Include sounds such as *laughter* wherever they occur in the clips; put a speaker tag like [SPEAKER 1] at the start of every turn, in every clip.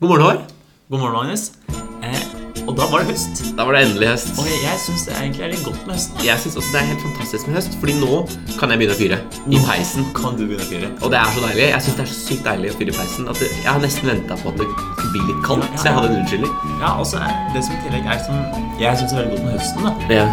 [SPEAKER 1] God morgen, Håvard.
[SPEAKER 2] God morgen, Magnus. Eh, og da var det høst.
[SPEAKER 1] Da var det endelig høst.
[SPEAKER 2] Og jeg, jeg syns det egentlig er litt godt med høsten.
[SPEAKER 1] Jeg syns også det er helt fantastisk med høst, fordi nå kan jeg begynne å fyre i peisen.
[SPEAKER 2] Kan du begynne å fyre?
[SPEAKER 1] Og det er så deilig. Jeg syns det er så sykt deilig å fyre i peisen at det, jeg har nesten venta på at det skulle bli litt kaldt,
[SPEAKER 2] Ja, ja,
[SPEAKER 1] så jeg hadde
[SPEAKER 2] ja.
[SPEAKER 1] en unnskyldning.
[SPEAKER 2] Ja, og så er det som i tillegg er som jeg syns er veldig godt med høsten, da,
[SPEAKER 1] Ja.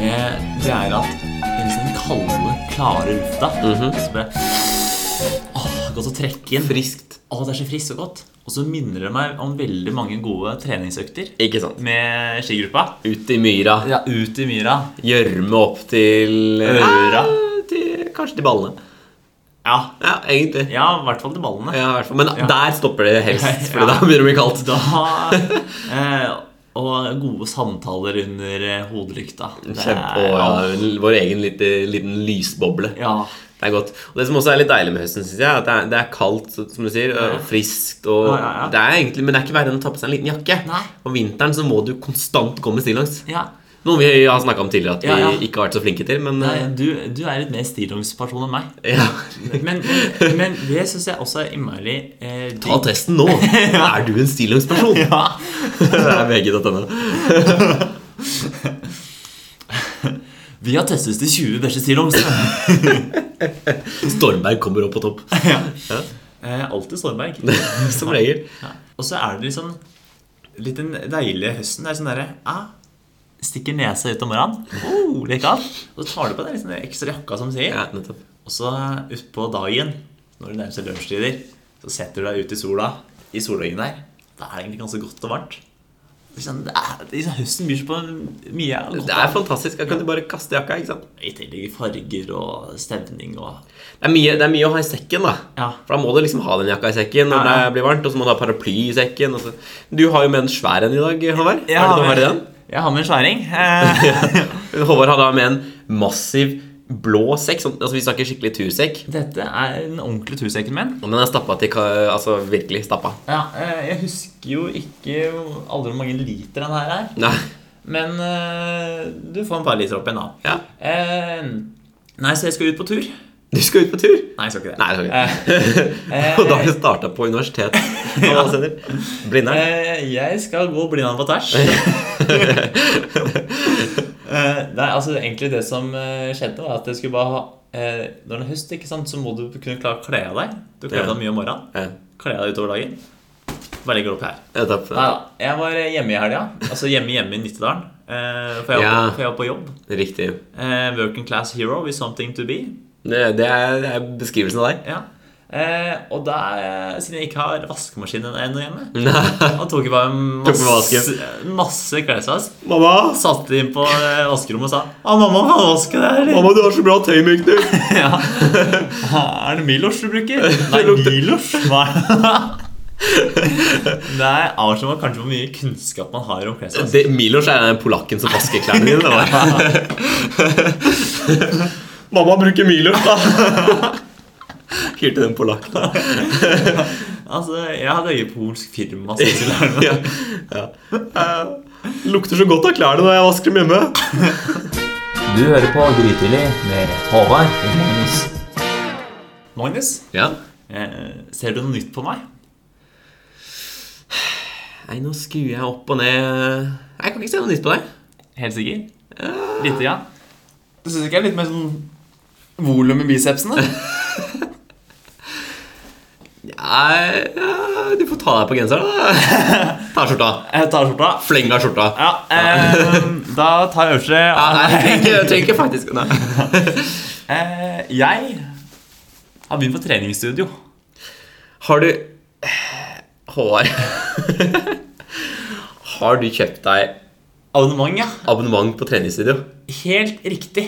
[SPEAKER 2] eh, det er at den liksom kalde, klare lufta Så bare Åh, godt å trekke inn.
[SPEAKER 1] Friskt.
[SPEAKER 2] Åh, det er så friskt og godt. Og så minner det meg om veldig mange gode treningsøkter
[SPEAKER 1] Ikke sant.
[SPEAKER 2] med skigruppa.
[SPEAKER 1] Ut i myra.
[SPEAKER 2] Ja, ut i myra.
[SPEAKER 1] Gjørme opp til
[SPEAKER 2] Øra.
[SPEAKER 1] Ja, Til, kanskje til ballene.
[SPEAKER 2] Ja,
[SPEAKER 1] Ja, egentlig.
[SPEAKER 2] ja i hvert fall til ballene.
[SPEAKER 1] Ja, i hvert fall. Men
[SPEAKER 2] Ja.
[SPEAKER 1] der stopper det helst, for
[SPEAKER 2] *laughs* Ja.
[SPEAKER 1] da begynner det å bli kaldt.
[SPEAKER 2] *laughs* Da, eh, og gode samtaler under eh, hodelykta. Det er-
[SPEAKER 1] Kjempe og ja, vår egen lite, liten lysboble.
[SPEAKER 2] Ja.
[SPEAKER 1] Det er godt. Og det som også er litt deilig med høsten, synes jeg, er at det er, det er kaldt, så- som du sier, og friskt og
[SPEAKER 2] Ja, ja, ja.
[SPEAKER 1] Det er egentlig, Men det er ikke verre enn å ta på seg en liten jakke.
[SPEAKER 2] Nei.
[SPEAKER 1] Om vinteren så må du konstant gå med stillongs.
[SPEAKER 2] ja.
[SPEAKER 1] Noe vi har snakka om tidligere at vi
[SPEAKER 2] Ja, ja.
[SPEAKER 1] ikke har vært så flinke til, men eh,
[SPEAKER 2] Nei, du, du er litt mer stillungsperson enn meg.
[SPEAKER 1] ja.
[SPEAKER 2] Men, men det syns jeg også er innmari eh, digg.
[SPEAKER 1] Ta testen
[SPEAKER 2] *laughs*
[SPEAKER 1] nå! Er du en stillongsperson? *laughs*
[SPEAKER 2] Ja.
[SPEAKER 1] Det er vg.no.
[SPEAKER 2] Vi har testet de 20 beste stillongs.
[SPEAKER 1] Stormberg kommer opp på topp. *laughs*
[SPEAKER 2] Eh, Alltid Stormberg.
[SPEAKER 1] Som regel.
[SPEAKER 2] Ja. Og så er det liksom litt den deilige høsten. Det er sånn derre ah, Stikker nesa ut om morgenen, oh, litt kaldt. Og så tar du på deg liksom den ekstra jakka som sier.
[SPEAKER 1] Ja, nettopp.
[SPEAKER 2] Og så utpå dagen, når det nærmer seg lunsjtider, så setter du deg ut i sola, i solveggen der. Da er det egentlig ganske godt og varmt. Det er sånn- det er, det er, høsten byr seg på mye godt.
[SPEAKER 1] Det er fantastisk. Da kan du bare kaste jakka. ikke sant?
[SPEAKER 2] I tillegg farger og stevning og
[SPEAKER 1] Det er mye, det er mye å ha i sekken, da.
[SPEAKER 2] Ja.
[SPEAKER 1] For da må du liksom ha den jakka i sekken når
[SPEAKER 2] Ja, ja.
[SPEAKER 1] det blir varmt, og så må du ha paraply i sekken. Og så. Du har jo med en svær en i dag, Håvard.
[SPEAKER 2] Jeg
[SPEAKER 1] har du
[SPEAKER 2] har
[SPEAKER 1] noe
[SPEAKER 2] med-
[SPEAKER 1] verre i den? *laughs*
[SPEAKER 2] Jeg har med en sværing. *laughs* Eh,
[SPEAKER 1] Håvard har da med en massiv blå sekk. Sånn, altså Vi snakker skikkelig tursekk.
[SPEAKER 2] Dette er den ordentlige tursekken min.
[SPEAKER 1] Og den er stappa til ka- Altså virkelig *laughs* stappa.
[SPEAKER 2] Ja, eh, jeg husker jo ikke aldri hvor mange liter den her er.
[SPEAKER 1] Nei.
[SPEAKER 2] Men eh, du får en par liter opp igjen, da.
[SPEAKER 1] Ja.
[SPEAKER 2] Eh, nei, så jeg skal ut på tur.
[SPEAKER 1] Du skal ut på tur!
[SPEAKER 2] Nei, jeg skal ikke det.
[SPEAKER 1] Nei, det
[SPEAKER 2] Eh,
[SPEAKER 1] skal vi ikke. *laughs*
[SPEAKER 2] eh,
[SPEAKER 1] Og da har du starta på universitet.
[SPEAKER 2] *laughs* Ja.
[SPEAKER 1] ja. Blindern.
[SPEAKER 2] Eh, jeg skal gå blindene på
[SPEAKER 1] *laughs*
[SPEAKER 2] tvers. Eh, nei, altså egentlig det som eh, skjedde, var at jeg skulle bare ha eh, Når det er høst, ikke sant, så må du kunne klare å kle av deg. Du kler
[SPEAKER 1] Ja.
[SPEAKER 2] deg mye om morgenen.
[SPEAKER 1] Ja.
[SPEAKER 2] Kle av deg utover dagen. Bare legger det opp her.
[SPEAKER 1] nettopp.
[SPEAKER 2] Nei da. Jeg var eh, hjemme i helga. Altså hjemme hjemme i Nittedalen. Eh, for, jeg var,
[SPEAKER 1] Ja.
[SPEAKER 2] på- for jeg var på jobb.
[SPEAKER 1] Riktig.
[SPEAKER 2] Eh, working class hero is something to be.
[SPEAKER 1] Det, det, er, det er beskrivelsen av deg.
[SPEAKER 2] Ja. Eh, og der, eh, siden jeg ikke har vaskemaskin ennå hjemme,
[SPEAKER 1] Nei.
[SPEAKER 2] og tok jeg bare
[SPEAKER 1] *laughs* Tok på
[SPEAKER 2] masse, masse klesvask
[SPEAKER 1] Mamma!
[SPEAKER 2] satt inn på eh, vaskerommet og sa «Å, mamma, kan du vaske det her, eller?»
[SPEAKER 1] Mamma, du har så bra tøymykner!
[SPEAKER 2] Ja. *laughs* Er *laughs* det Milos du bruker? Nei,
[SPEAKER 1] lukter-
[SPEAKER 2] Milos? *laughs* Nei. Nei, avslører man kanskje hvor mye kunnskap man har om *laughs* klesvask.
[SPEAKER 1] Det, Milos er den polakken som vasker klærne dine. det var. *laughs* Mamma bruker Milos, da! *laughs* Hyr til den polakken. da.
[SPEAKER 2] Altså, jeg hadde øye på polsk firma. som skulle lære meg.
[SPEAKER 1] *laughs* Ja. Ja. Eh, Lukter så godt av klærne når jeg vasker dem hjemme.
[SPEAKER 2] Du hører på Grytidlig med Håvard og Magnus. Magnus,
[SPEAKER 1] Ja.
[SPEAKER 2] eh, ser du noe nytt på meg?
[SPEAKER 1] Nei, nå skrur jeg opp og ned Jeg kan ikke se noe nytt på deg.
[SPEAKER 2] Helt *gasps* sikker? Lite, ja. Du syns ikke jeg er litt mer sånn volum i bicepsene?
[SPEAKER 1] Nei, ja, du får ta deg på genseren, da. *laughs* Ta av skjorta.
[SPEAKER 2] *laughs* Jeg tar skjorta.
[SPEAKER 1] Fleng av skjorta.
[SPEAKER 2] Ja, eh,
[SPEAKER 1] *laughs*
[SPEAKER 2] da tar jeg øverste.
[SPEAKER 1] Ja, nei, jeg trenger, jeg trenger ikke faktisk nei.
[SPEAKER 2] Eh, jeg har begynt på treningsstudio.
[SPEAKER 1] Har du Håvard *laughs* Har du kjøpt deg
[SPEAKER 2] Abonnement, ja.
[SPEAKER 1] abonnement på treningsstudio?
[SPEAKER 2] Helt riktig.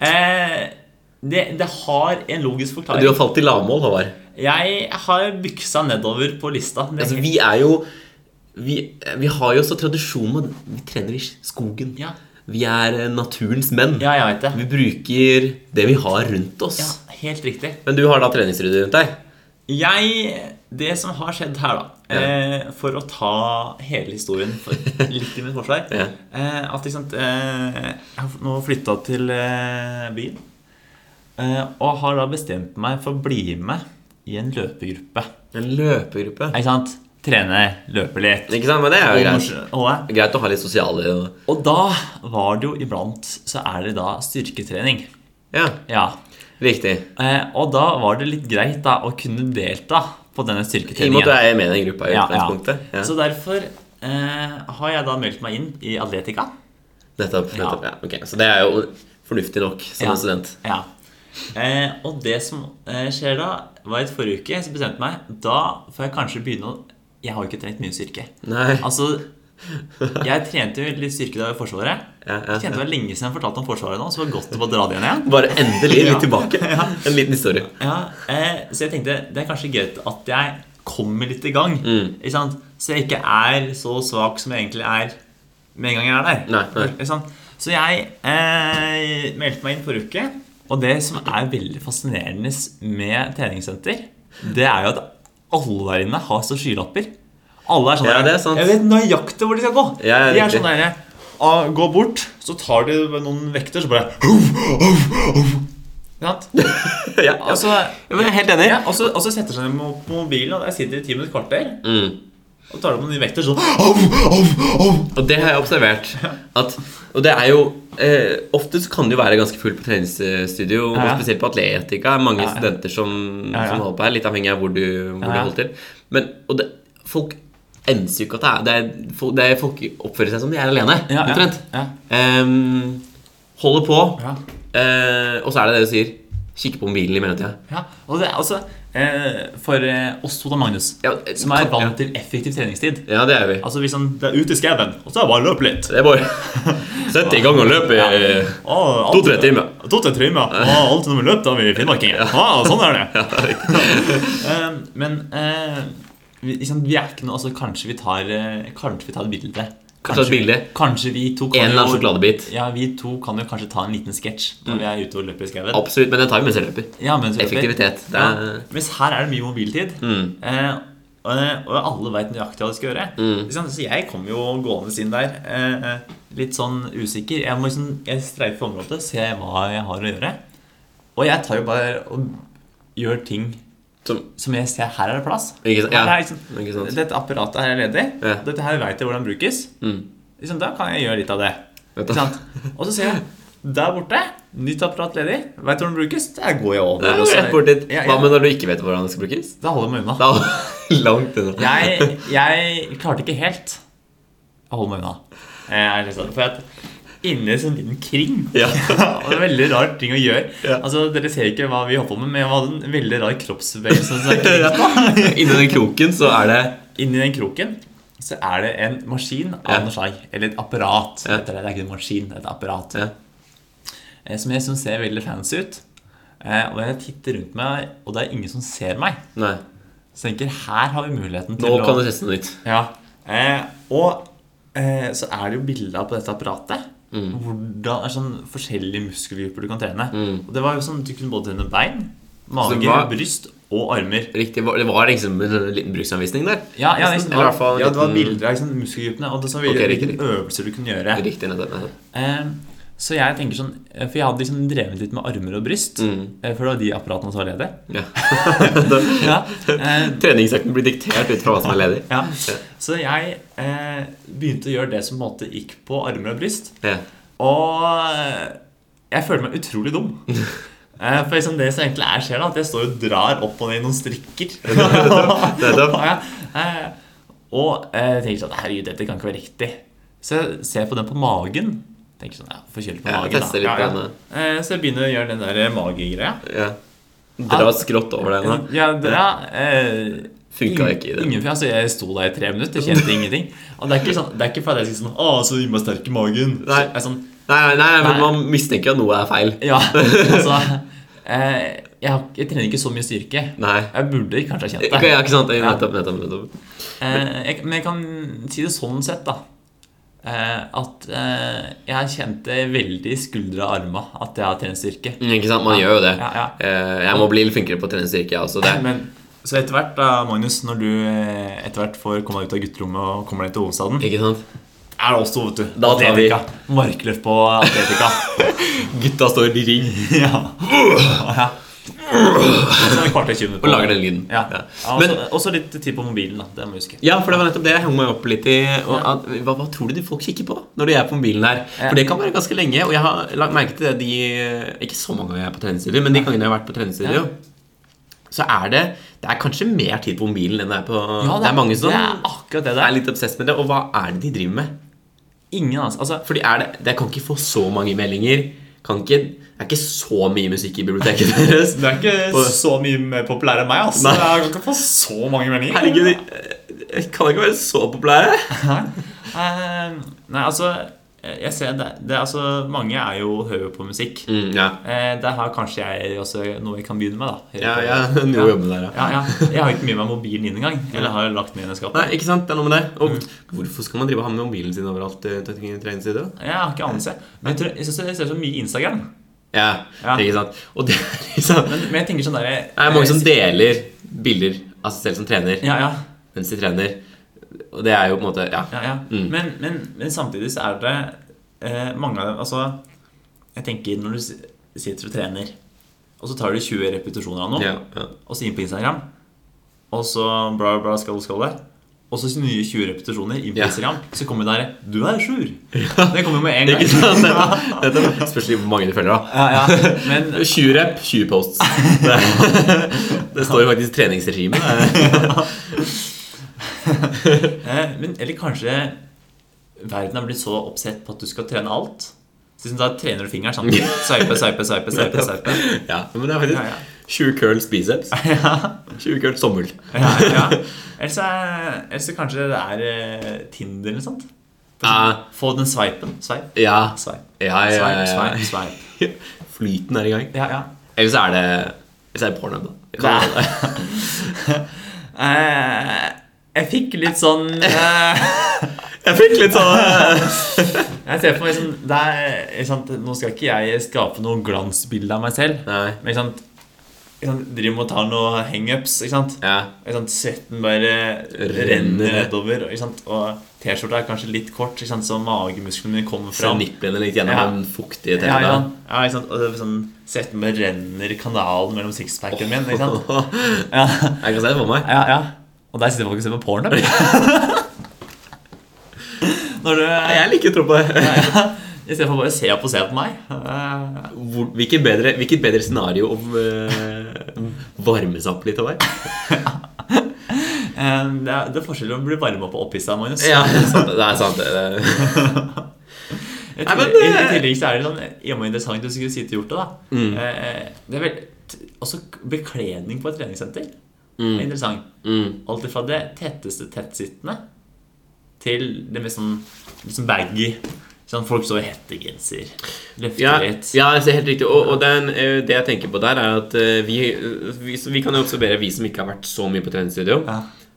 [SPEAKER 2] Eh, det, det har en logisk
[SPEAKER 1] Du
[SPEAKER 2] forklaring.
[SPEAKER 1] har falt i lavmål, Håvard.
[SPEAKER 2] Jeg har byksa nedover på lista. Det er
[SPEAKER 1] Altså,
[SPEAKER 2] helt-
[SPEAKER 1] vi er jo vi, vi har jo så tradisjon med Vi trener i skogen.
[SPEAKER 2] Ja.
[SPEAKER 1] Vi er eh, naturens menn.
[SPEAKER 2] Ja, jeg veit det.
[SPEAKER 1] Vi bruker det vi har rundt oss.
[SPEAKER 2] Ja, helt riktig.
[SPEAKER 1] Men du har da treningsstudio rundt deg?
[SPEAKER 2] Jeg Det som har skjedd her, da eh, For å ta hele historien
[SPEAKER 1] *laughs*
[SPEAKER 2] for litt i mitt forsvar
[SPEAKER 1] Ja.
[SPEAKER 2] eh, At ikke sant eh, Jeg har nå flytta til eh, byen. Eh, og har da bestemt meg for å bli med i en løpegruppe.
[SPEAKER 1] En løpegruppe.
[SPEAKER 2] Ikke sant? Trene, løpe litt.
[SPEAKER 1] Ikke sant, men det er jo
[SPEAKER 2] Og
[SPEAKER 1] greit.
[SPEAKER 2] mors- og det.
[SPEAKER 1] Greit å ha litt sosiale og
[SPEAKER 2] Og da var det jo iblant så er det da styrketrening.
[SPEAKER 1] Ja,
[SPEAKER 2] Ja.
[SPEAKER 1] riktig.
[SPEAKER 2] Eh, og da var det litt greit da å kunne delta på
[SPEAKER 1] I og med
[SPEAKER 2] denne
[SPEAKER 1] at du
[SPEAKER 2] styrketreningen.
[SPEAKER 1] er med i den gruppa i
[SPEAKER 2] Ja, ja.
[SPEAKER 1] utgangspunktet. Ja.
[SPEAKER 2] Så derfor eh, har jeg da meldt meg inn i Atletica.
[SPEAKER 1] Nettopp.
[SPEAKER 2] Ja.
[SPEAKER 1] nettopp ja. ok. Så det er jo fornuftig nok som
[SPEAKER 2] Ja.
[SPEAKER 1] en student.
[SPEAKER 2] Ja. Eh, og det som eh, skjer da, var at forrige uke så bestemte jeg meg Da får jeg kanskje begynne å Jeg har jo ikke trent mye styrke.
[SPEAKER 1] Nei.
[SPEAKER 2] Altså, jeg trente jo litt styrke da jeg var i Forsvaret.
[SPEAKER 1] Ja, ja,
[SPEAKER 2] Jeg kjente det var lenge siden jeg fortalte om Forsvaret nå, så det var godt å få dra det igjen igjen.
[SPEAKER 1] Bare endelig litt
[SPEAKER 2] *laughs* Ja.
[SPEAKER 1] tilbake. En liten historie. *laughs*
[SPEAKER 2] Ja, eh, så jeg tenkte det er kanskje greit at jeg kommer litt i gang.
[SPEAKER 1] Mm.
[SPEAKER 2] Ikke sant? Så jeg ikke er så svak som jeg egentlig er med en gang jeg er der.
[SPEAKER 1] Nei, nei.
[SPEAKER 2] Ikke sant? Så jeg eh, meldte meg inn forrige uke. Og det som er veldig fascinerende med treningssenter, det er jo at alle der inne har så skylapper. Alle er sånn
[SPEAKER 1] Ja,
[SPEAKER 2] der,
[SPEAKER 1] det er sant.
[SPEAKER 2] Jeg vet nøyaktig hvor de skal gå.
[SPEAKER 1] Ja, ja,
[SPEAKER 2] de er
[SPEAKER 1] riktig.
[SPEAKER 2] sånn der, ah, Gå bort, så tar de noen vekter, så bare huff, huff, huff. Ikke sant?
[SPEAKER 1] ja, ja.
[SPEAKER 2] Altså,
[SPEAKER 1] Jeg er helt enig.
[SPEAKER 2] ja, og, så, og så setter seg ned på mobilen, og der sitter de i ti minutter kvarter.
[SPEAKER 1] Mm.
[SPEAKER 2] Og tar det på nye vekter sånn av, av, av.
[SPEAKER 1] Og det har jeg observert. At, og det er jo eh, Ofte så kan det jo være ganske fullt på treningsstudio,
[SPEAKER 2] Ja, ja.
[SPEAKER 1] og spesielt på Atletica. Mange
[SPEAKER 2] Ja, ja.
[SPEAKER 1] studenter som,
[SPEAKER 2] Ja, ja.
[SPEAKER 1] som holder på her, litt avhengig av hvor du, hvor
[SPEAKER 2] Ja, ja.
[SPEAKER 1] du holder til. Men, og det, folk enser jo ikke at det er, det er folk- det er Folk oppfører seg som de er alene,
[SPEAKER 2] Ja, ja,
[SPEAKER 1] omtrent.
[SPEAKER 2] ja.
[SPEAKER 1] Em, holder på,
[SPEAKER 2] Ja.
[SPEAKER 1] eh, og så er det det du sier. Kikke på mobilen i mellomtida.
[SPEAKER 2] Ja, og det er altså eh, For eh, oss to da, Magnus,
[SPEAKER 1] Ja,
[SPEAKER 2] som er
[SPEAKER 1] kan-
[SPEAKER 2] vant
[SPEAKER 1] ja.
[SPEAKER 2] til effektiv treningstid
[SPEAKER 1] Ja, det er vi.
[SPEAKER 2] Altså hvis han det er ute i skauen, og så er det bare å løpe litt.
[SPEAKER 1] Det
[SPEAKER 2] *laughs*
[SPEAKER 1] er bare Sett i gang og løp eh, i
[SPEAKER 2] Ja. Å, alt-
[SPEAKER 1] To-tre timer.
[SPEAKER 2] To-tre timer. Å, alt når vi løp, da er vi finnmarkinger. Å, sånn
[SPEAKER 1] *laughs*
[SPEAKER 2] er det. Eh, men eh, vi, ikke sant, vi er ikke noe altså, Kanskje vi tar eh, Kanskje vi tar et bilde.
[SPEAKER 1] Kanskje et bilde.
[SPEAKER 2] Kanskje vi to
[SPEAKER 1] en
[SPEAKER 2] kan
[SPEAKER 1] eller annen
[SPEAKER 2] jo-
[SPEAKER 1] sjokoladebit.
[SPEAKER 2] Ja, vi to kan jo kanskje ta en liten sketsj når vi er ute og løper i skauen.
[SPEAKER 1] Absolutt, men den tar vi mens jeg løper.
[SPEAKER 2] Ja, mens vi løper.
[SPEAKER 1] Effektivitet. Det er,
[SPEAKER 2] Ja, Eh, mens her er det mye mobiltid.
[SPEAKER 1] Mm.
[SPEAKER 2] Eh, og, og alle veit nøyaktig hva de skal gjøre.
[SPEAKER 1] Mm.
[SPEAKER 2] Ikke sant? Så jeg kom jo gående inn der eh, eh, litt sånn usikker. Jeg, må liksom, jeg streifer området, ser hva jeg har å gjøre. Og jeg tar jo bare og gjør ting
[SPEAKER 1] som,
[SPEAKER 2] som jeg ser her er det plass.
[SPEAKER 1] ikke, sant?
[SPEAKER 2] Her
[SPEAKER 1] ja,
[SPEAKER 2] er liksom,
[SPEAKER 1] ikke sant?
[SPEAKER 2] dette apparatet her er ledig.
[SPEAKER 1] Ja.
[SPEAKER 2] Dette her veit jeg hvordan brukes.
[SPEAKER 1] Mm.
[SPEAKER 2] Liksom, da kan jeg gjøre litt av det.
[SPEAKER 1] Vet du.
[SPEAKER 2] Ikke sant? Og så ser jeg der borte. Nytt apparat ledig. Veit du hvordan det brukes? Der går jeg over.
[SPEAKER 1] Det er
[SPEAKER 2] og
[SPEAKER 1] også
[SPEAKER 2] så-
[SPEAKER 1] rett bort dit.
[SPEAKER 2] Ja, ja.
[SPEAKER 1] Hva med når du ikke vet hvordan det skal brukes?
[SPEAKER 2] Da holder jeg meg unna.
[SPEAKER 1] Da *laughs* langt unna. *laughs*
[SPEAKER 2] Jeg, jeg klarte ikke helt å holde meg unna. Eh, er det sånn, For at inni en liten kring
[SPEAKER 1] *laughs* Ja.
[SPEAKER 2] *laughs* Og det er en veldig rar ting å gjøre.
[SPEAKER 1] Ja.
[SPEAKER 2] Altså, Dere ser ikke hva vi holder på med, men jeg hadde en veldig rar kroppsbevegelse.
[SPEAKER 1] *laughs*
[SPEAKER 2] som er kring. *laughs*
[SPEAKER 1] Inni den kroken så er det
[SPEAKER 2] Inni den kroken så er det en maskin av
[SPEAKER 1] Ja.
[SPEAKER 2] noe slag. Eller et apparat.
[SPEAKER 1] Ja.
[SPEAKER 2] heter Det. det er ikke en maskin, det er et apparat.
[SPEAKER 1] Ja.
[SPEAKER 2] Eh, Som jeg syns ser veldig fancy ut. Eh, Og jeg titter rundt meg, og det er ingen som ser meg.
[SPEAKER 1] Nei.
[SPEAKER 2] Så jeg tenker, her har vi muligheten til
[SPEAKER 1] Nå
[SPEAKER 2] å
[SPEAKER 1] kan du teste noe nytt.
[SPEAKER 2] Ja. Eh, og eh, så er det jo bilder på dette apparatet.
[SPEAKER 1] Mm.
[SPEAKER 2] Hvordan er sånn Forskjellige muskelgrupper du kan trene. Og det var jo sånn Du kunne både trene bein,
[SPEAKER 1] Mm. Så
[SPEAKER 2] mage,
[SPEAKER 1] det var-
[SPEAKER 2] bryst og armer.
[SPEAKER 1] Riktig, var- Det var liksom en liten bruksanvisning der.
[SPEAKER 2] Ja, ja,
[SPEAKER 1] Nesten,
[SPEAKER 2] liksom,
[SPEAKER 1] Eller i hvert fall en
[SPEAKER 2] ja, det var
[SPEAKER 1] liten-
[SPEAKER 2] bilder av liksom, muskelgruppene og det så videre,
[SPEAKER 1] Ok, riktig,
[SPEAKER 2] hvilke øvelser du kunne gjøre.
[SPEAKER 1] Riktig, nettopp. nettopp.
[SPEAKER 2] Eh, så jeg tenker sånn eh, For jeg hadde liksom drevet litt med armer og bryst.
[SPEAKER 1] Mm.
[SPEAKER 2] eh, For det var de apparatene som
[SPEAKER 1] *laughs*
[SPEAKER 2] var ledige.
[SPEAKER 1] Ja.
[SPEAKER 2] Ja, eh,
[SPEAKER 1] Treningsøkten blir diktert ut fra hva som er ledig.
[SPEAKER 2] ja. Så jeg eh, begynte å gjøre det som på en måte gikk på armer og bryst.
[SPEAKER 1] Ja.
[SPEAKER 2] Og eh, jeg føler meg utrolig
[SPEAKER 1] *laughs*
[SPEAKER 2] dum. Eh, For liksom det som egentlig er skjer, da, at jeg står og drar opp og ned i noen
[SPEAKER 1] *laughs*
[SPEAKER 2] strikker.
[SPEAKER 1] Nettopp.
[SPEAKER 2] Ja, eh, og eh, jeg tenker sånn Herregud, dette kan ikke være riktig. Så jeg ser på den på magen. Tenker sånn, ja, Forkjølt på
[SPEAKER 1] Ja,
[SPEAKER 2] magen.
[SPEAKER 1] tester litt
[SPEAKER 2] ja,
[SPEAKER 1] på
[SPEAKER 2] ja. Eh, Så jeg begynner å gjøre den der eh, magegreia.
[SPEAKER 1] ja. Dra skrått over deg nå.
[SPEAKER 2] Ja, det, ja, eh,
[SPEAKER 1] Funka
[SPEAKER 2] ingen-
[SPEAKER 1] ikke i det.
[SPEAKER 2] Ingen, altså, jeg sto der i tre minutter, kjente ingenting. Og det er ikke, sånn, det er ikke fordi jeg sier sånn Å, så gir meg sterk i magen.
[SPEAKER 1] Nei.
[SPEAKER 2] Så jeg er sånn,
[SPEAKER 1] Nei, nei, nei, men
[SPEAKER 2] Nei.
[SPEAKER 1] man mistenker at noe er feil.
[SPEAKER 2] Ja, altså eh, jeg, har, jeg trener ikke så mye styrke.
[SPEAKER 1] Nei.
[SPEAKER 2] Jeg burde kanskje ha kjent
[SPEAKER 1] Ikke,
[SPEAKER 2] det.
[SPEAKER 1] ja, ikke sant? Nettopp, nettopp, nettopp.
[SPEAKER 2] Eh, jeg, men jeg kan si det sånn sett, da. Eh, at eh, jeg kjente veldig i skuldre og armer at jeg har trent styrke.
[SPEAKER 1] Mm, Ikke sant, Man gjør jo det.
[SPEAKER 2] Ja, ja.
[SPEAKER 1] Eh, Jeg må bli litt flinkere på å trene styrke, jeg også. Det.
[SPEAKER 2] Men, så etter hvert, da, Magnus, når du eh, etter hvert får komme deg ut av gutterommet og kommer deg til hovedstaden,
[SPEAKER 1] Ikke sant?
[SPEAKER 2] er det oss to, vet du.
[SPEAKER 1] Da tar vi-
[SPEAKER 2] Atletica.
[SPEAKER 1] *laughs*
[SPEAKER 2] Markløft på atletika. *laughs*
[SPEAKER 1] Gutta står i ring.
[SPEAKER 2] ja. ja. Sånn et kvarter 20 minutter.
[SPEAKER 1] Og lager den lyden.
[SPEAKER 2] Ja.
[SPEAKER 1] Ja.
[SPEAKER 2] Ja,
[SPEAKER 1] Men-
[SPEAKER 2] også- Også litt tid på mobilen, da. Det må jeg huske.
[SPEAKER 1] Ja, for det var nettopp det jeg hang meg opp litt i. Og at, hva, hva tror du de folk kikker på når de er på mobilen her? For det kan være ganske lenge. Og jeg har lagt merke til det de Ikke så mange ganger jeg er på treningsstudio, men de gangene jeg har vært på treningsstudio, så er det Det er kanskje mer tid på mobilen enn det er på det, er mange som
[SPEAKER 2] Det er akkurat det det
[SPEAKER 1] er
[SPEAKER 2] er.
[SPEAKER 1] litt obsess med det. Og hva er det de driver med?
[SPEAKER 2] Ingen, altså. altså
[SPEAKER 1] Fordi er det, det kan ikke få så mange meldinger. Kan ikke, det er ikke så mye musikk i biblioteket *laughs* deres.
[SPEAKER 2] du er ikke
[SPEAKER 1] På-
[SPEAKER 2] så mye mer populær enn meg. altså. ass
[SPEAKER 1] Nei.
[SPEAKER 2] Jeg kan ikke få så mange meldinger.
[SPEAKER 1] Herregud, jeg kan ikke være så populære.
[SPEAKER 2] Eh, nei, altså Jeg ser det, det er altså, Mange er jo høye på musikk.
[SPEAKER 1] Mm, ja.
[SPEAKER 2] Eh, der har kanskje jeg også noe jeg kan begynne med. da
[SPEAKER 1] Ja, ja, *laughs* noe å jobbe med der, ja.
[SPEAKER 2] Ja, ja. Jeg har ikke med meg mobilen inn engang. Eller har lagt den inn i skapet.
[SPEAKER 1] Nei, ikke sant? Det er noe med det. Og hvorfor skal man drive og ha med mobilen sin overalt? eh, til en treningsstudio?
[SPEAKER 2] Jeg har ikke anelse. Men jeg, tror, jeg synes jeg ser så mye Instagram.
[SPEAKER 1] Ja,
[SPEAKER 2] Ja.
[SPEAKER 1] ikke sant? Og det er liksom Det
[SPEAKER 2] Men, men jeg tenker sånn der
[SPEAKER 1] er mange som deler bilder av seg selv som trener,
[SPEAKER 2] Ja, ja.
[SPEAKER 1] mens de trener. Og det er jo på en måte Ja.
[SPEAKER 2] ja, ja.
[SPEAKER 1] Mm.
[SPEAKER 2] Men, men, men samtidig så er det eh, mange av dem Altså, jeg tenker når du s- sitter og trener, og så tar du 20 repetisjoner av noe,
[SPEAKER 1] ja, ja.
[SPEAKER 2] og så inn på Instagram, og så bla, bla, skal, skal det. Og så nye 20 repetisjoner inn på
[SPEAKER 1] Ja.
[SPEAKER 2] Instagram, så kommer det der 'Du er
[SPEAKER 1] *laughs*
[SPEAKER 2] sur'. Det kommer jo med en gang.
[SPEAKER 1] Ikke sant? Nettopp. *laughs* Nettopp. Spørs litt hvor mange du følger, da.
[SPEAKER 2] *laughs* Ja,
[SPEAKER 1] *laughs*
[SPEAKER 2] ja. Men
[SPEAKER 1] 20 rep, 20 *laughs* posts. Det, det står jo faktisk treningsregime. det.
[SPEAKER 2] Eh, Men, eller kanskje verden har blitt så oppsett på at du skal trene alt. Så liksom, da trener du
[SPEAKER 1] *laughs*
[SPEAKER 2] fingeren samtidig. Sveipe, sveipe, sveipe, sveipe. sveipe.
[SPEAKER 1] Ja, men det er
[SPEAKER 2] Ja, ja.
[SPEAKER 1] faktisk 20 curls biceps. 20 curls tommel.
[SPEAKER 2] Ja, ja. Eller så er- eller så kanskje det er eh, Tinder eller noe sånt.
[SPEAKER 1] Ja,
[SPEAKER 2] Få den sveipen. Sveip,
[SPEAKER 1] *laughs* ja,
[SPEAKER 2] sveip,
[SPEAKER 1] ja, ja,
[SPEAKER 2] sveip,
[SPEAKER 1] ja,
[SPEAKER 2] sveip. sveip.
[SPEAKER 1] ja. *laughs* Flyten er i gang.
[SPEAKER 2] Ja, ja.
[SPEAKER 1] Eller så er det Eller så er det porno, da. Det kan
[SPEAKER 2] Nei.
[SPEAKER 1] være
[SPEAKER 2] *laughs*
[SPEAKER 1] det.
[SPEAKER 2] Eh, jeg fikk litt sånn eh,
[SPEAKER 1] Jeg fikk litt sånn
[SPEAKER 2] Jeg ser for meg sånn det er, ikke sant, Nå skal ikke jeg skape noe glansbilde av meg selv.
[SPEAKER 1] Nei.
[SPEAKER 2] Men ikke sant, ikke sant driver med å ta noen hangups, ikke sant.
[SPEAKER 1] Ja.
[SPEAKER 2] Ikke sant, Svetten bare renner nedover. Ikke sant? Og T-skjorta er kanskje litt kort, ikke sant? så magemusklene mine kommer
[SPEAKER 1] Så
[SPEAKER 2] fram.
[SPEAKER 1] nipplene litt gjennom
[SPEAKER 2] Sånn. Ja.
[SPEAKER 1] den fuktige
[SPEAKER 2] Ja,
[SPEAKER 1] tennene.
[SPEAKER 2] ja. ja, ikke sant? Og det er sånn, svetten bare renner i kanalen mellom sixpacken min. Ikke sant?
[SPEAKER 1] *laughs*
[SPEAKER 2] Ja,
[SPEAKER 1] Jeg kan se det for meg.
[SPEAKER 2] *laughs* ja, ja. Og der sitter folk og ser på porno. *laughs* Når du
[SPEAKER 1] Jeg liker å tro på det.
[SPEAKER 2] Istedenfor bare å se opp og se på meg. Eh,
[SPEAKER 1] *laughs* Hvor- Hvilket bedre, hvilket bedre scenario å
[SPEAKER 2] Mm.
[SPEAKER 1] eh, varme seg opp litt over?
[SPEAKER 2] eh, Det er, det er forskjell på å bli varma opp og opphissa, Magnus.
[SPEAKER 1] Ja, *laughs* det er sant. Det er sant. det- det-
[SPEAKER 2] I
[SPEAKER 1] Nei, men eh,
[SPEAKER 2] tillegg, i, I
[SPEAKER 1] det-
[SPEAKER 2] tillegg så er det sånn jammen interessant å skulle sitte og gjort det, da.
[SPEAKER 1] Mm.
[SPEAKER 2] Eh, det er vel, t- også k- bekledning på et treningssenter er interessant.
[SPEAKER 1] Mm.
[SPEAKER 2] Alt fra det tetteste tettsittende til det mest sånn litt sånn baggy. Sånn folk står i hettegenser. Løfter
[SPEAKER 1] Ja,
[SPEAKER 2] litt.
[SPEAKER 1] ja, altså, helt riktig. Og, og det, er en, eh, det jeg tenker på der, er at eh, vi, eh, vi, så vi kan jo observere, vi som ikke har vært så mye på treningsstudio
[SPEAKER 2] Ja.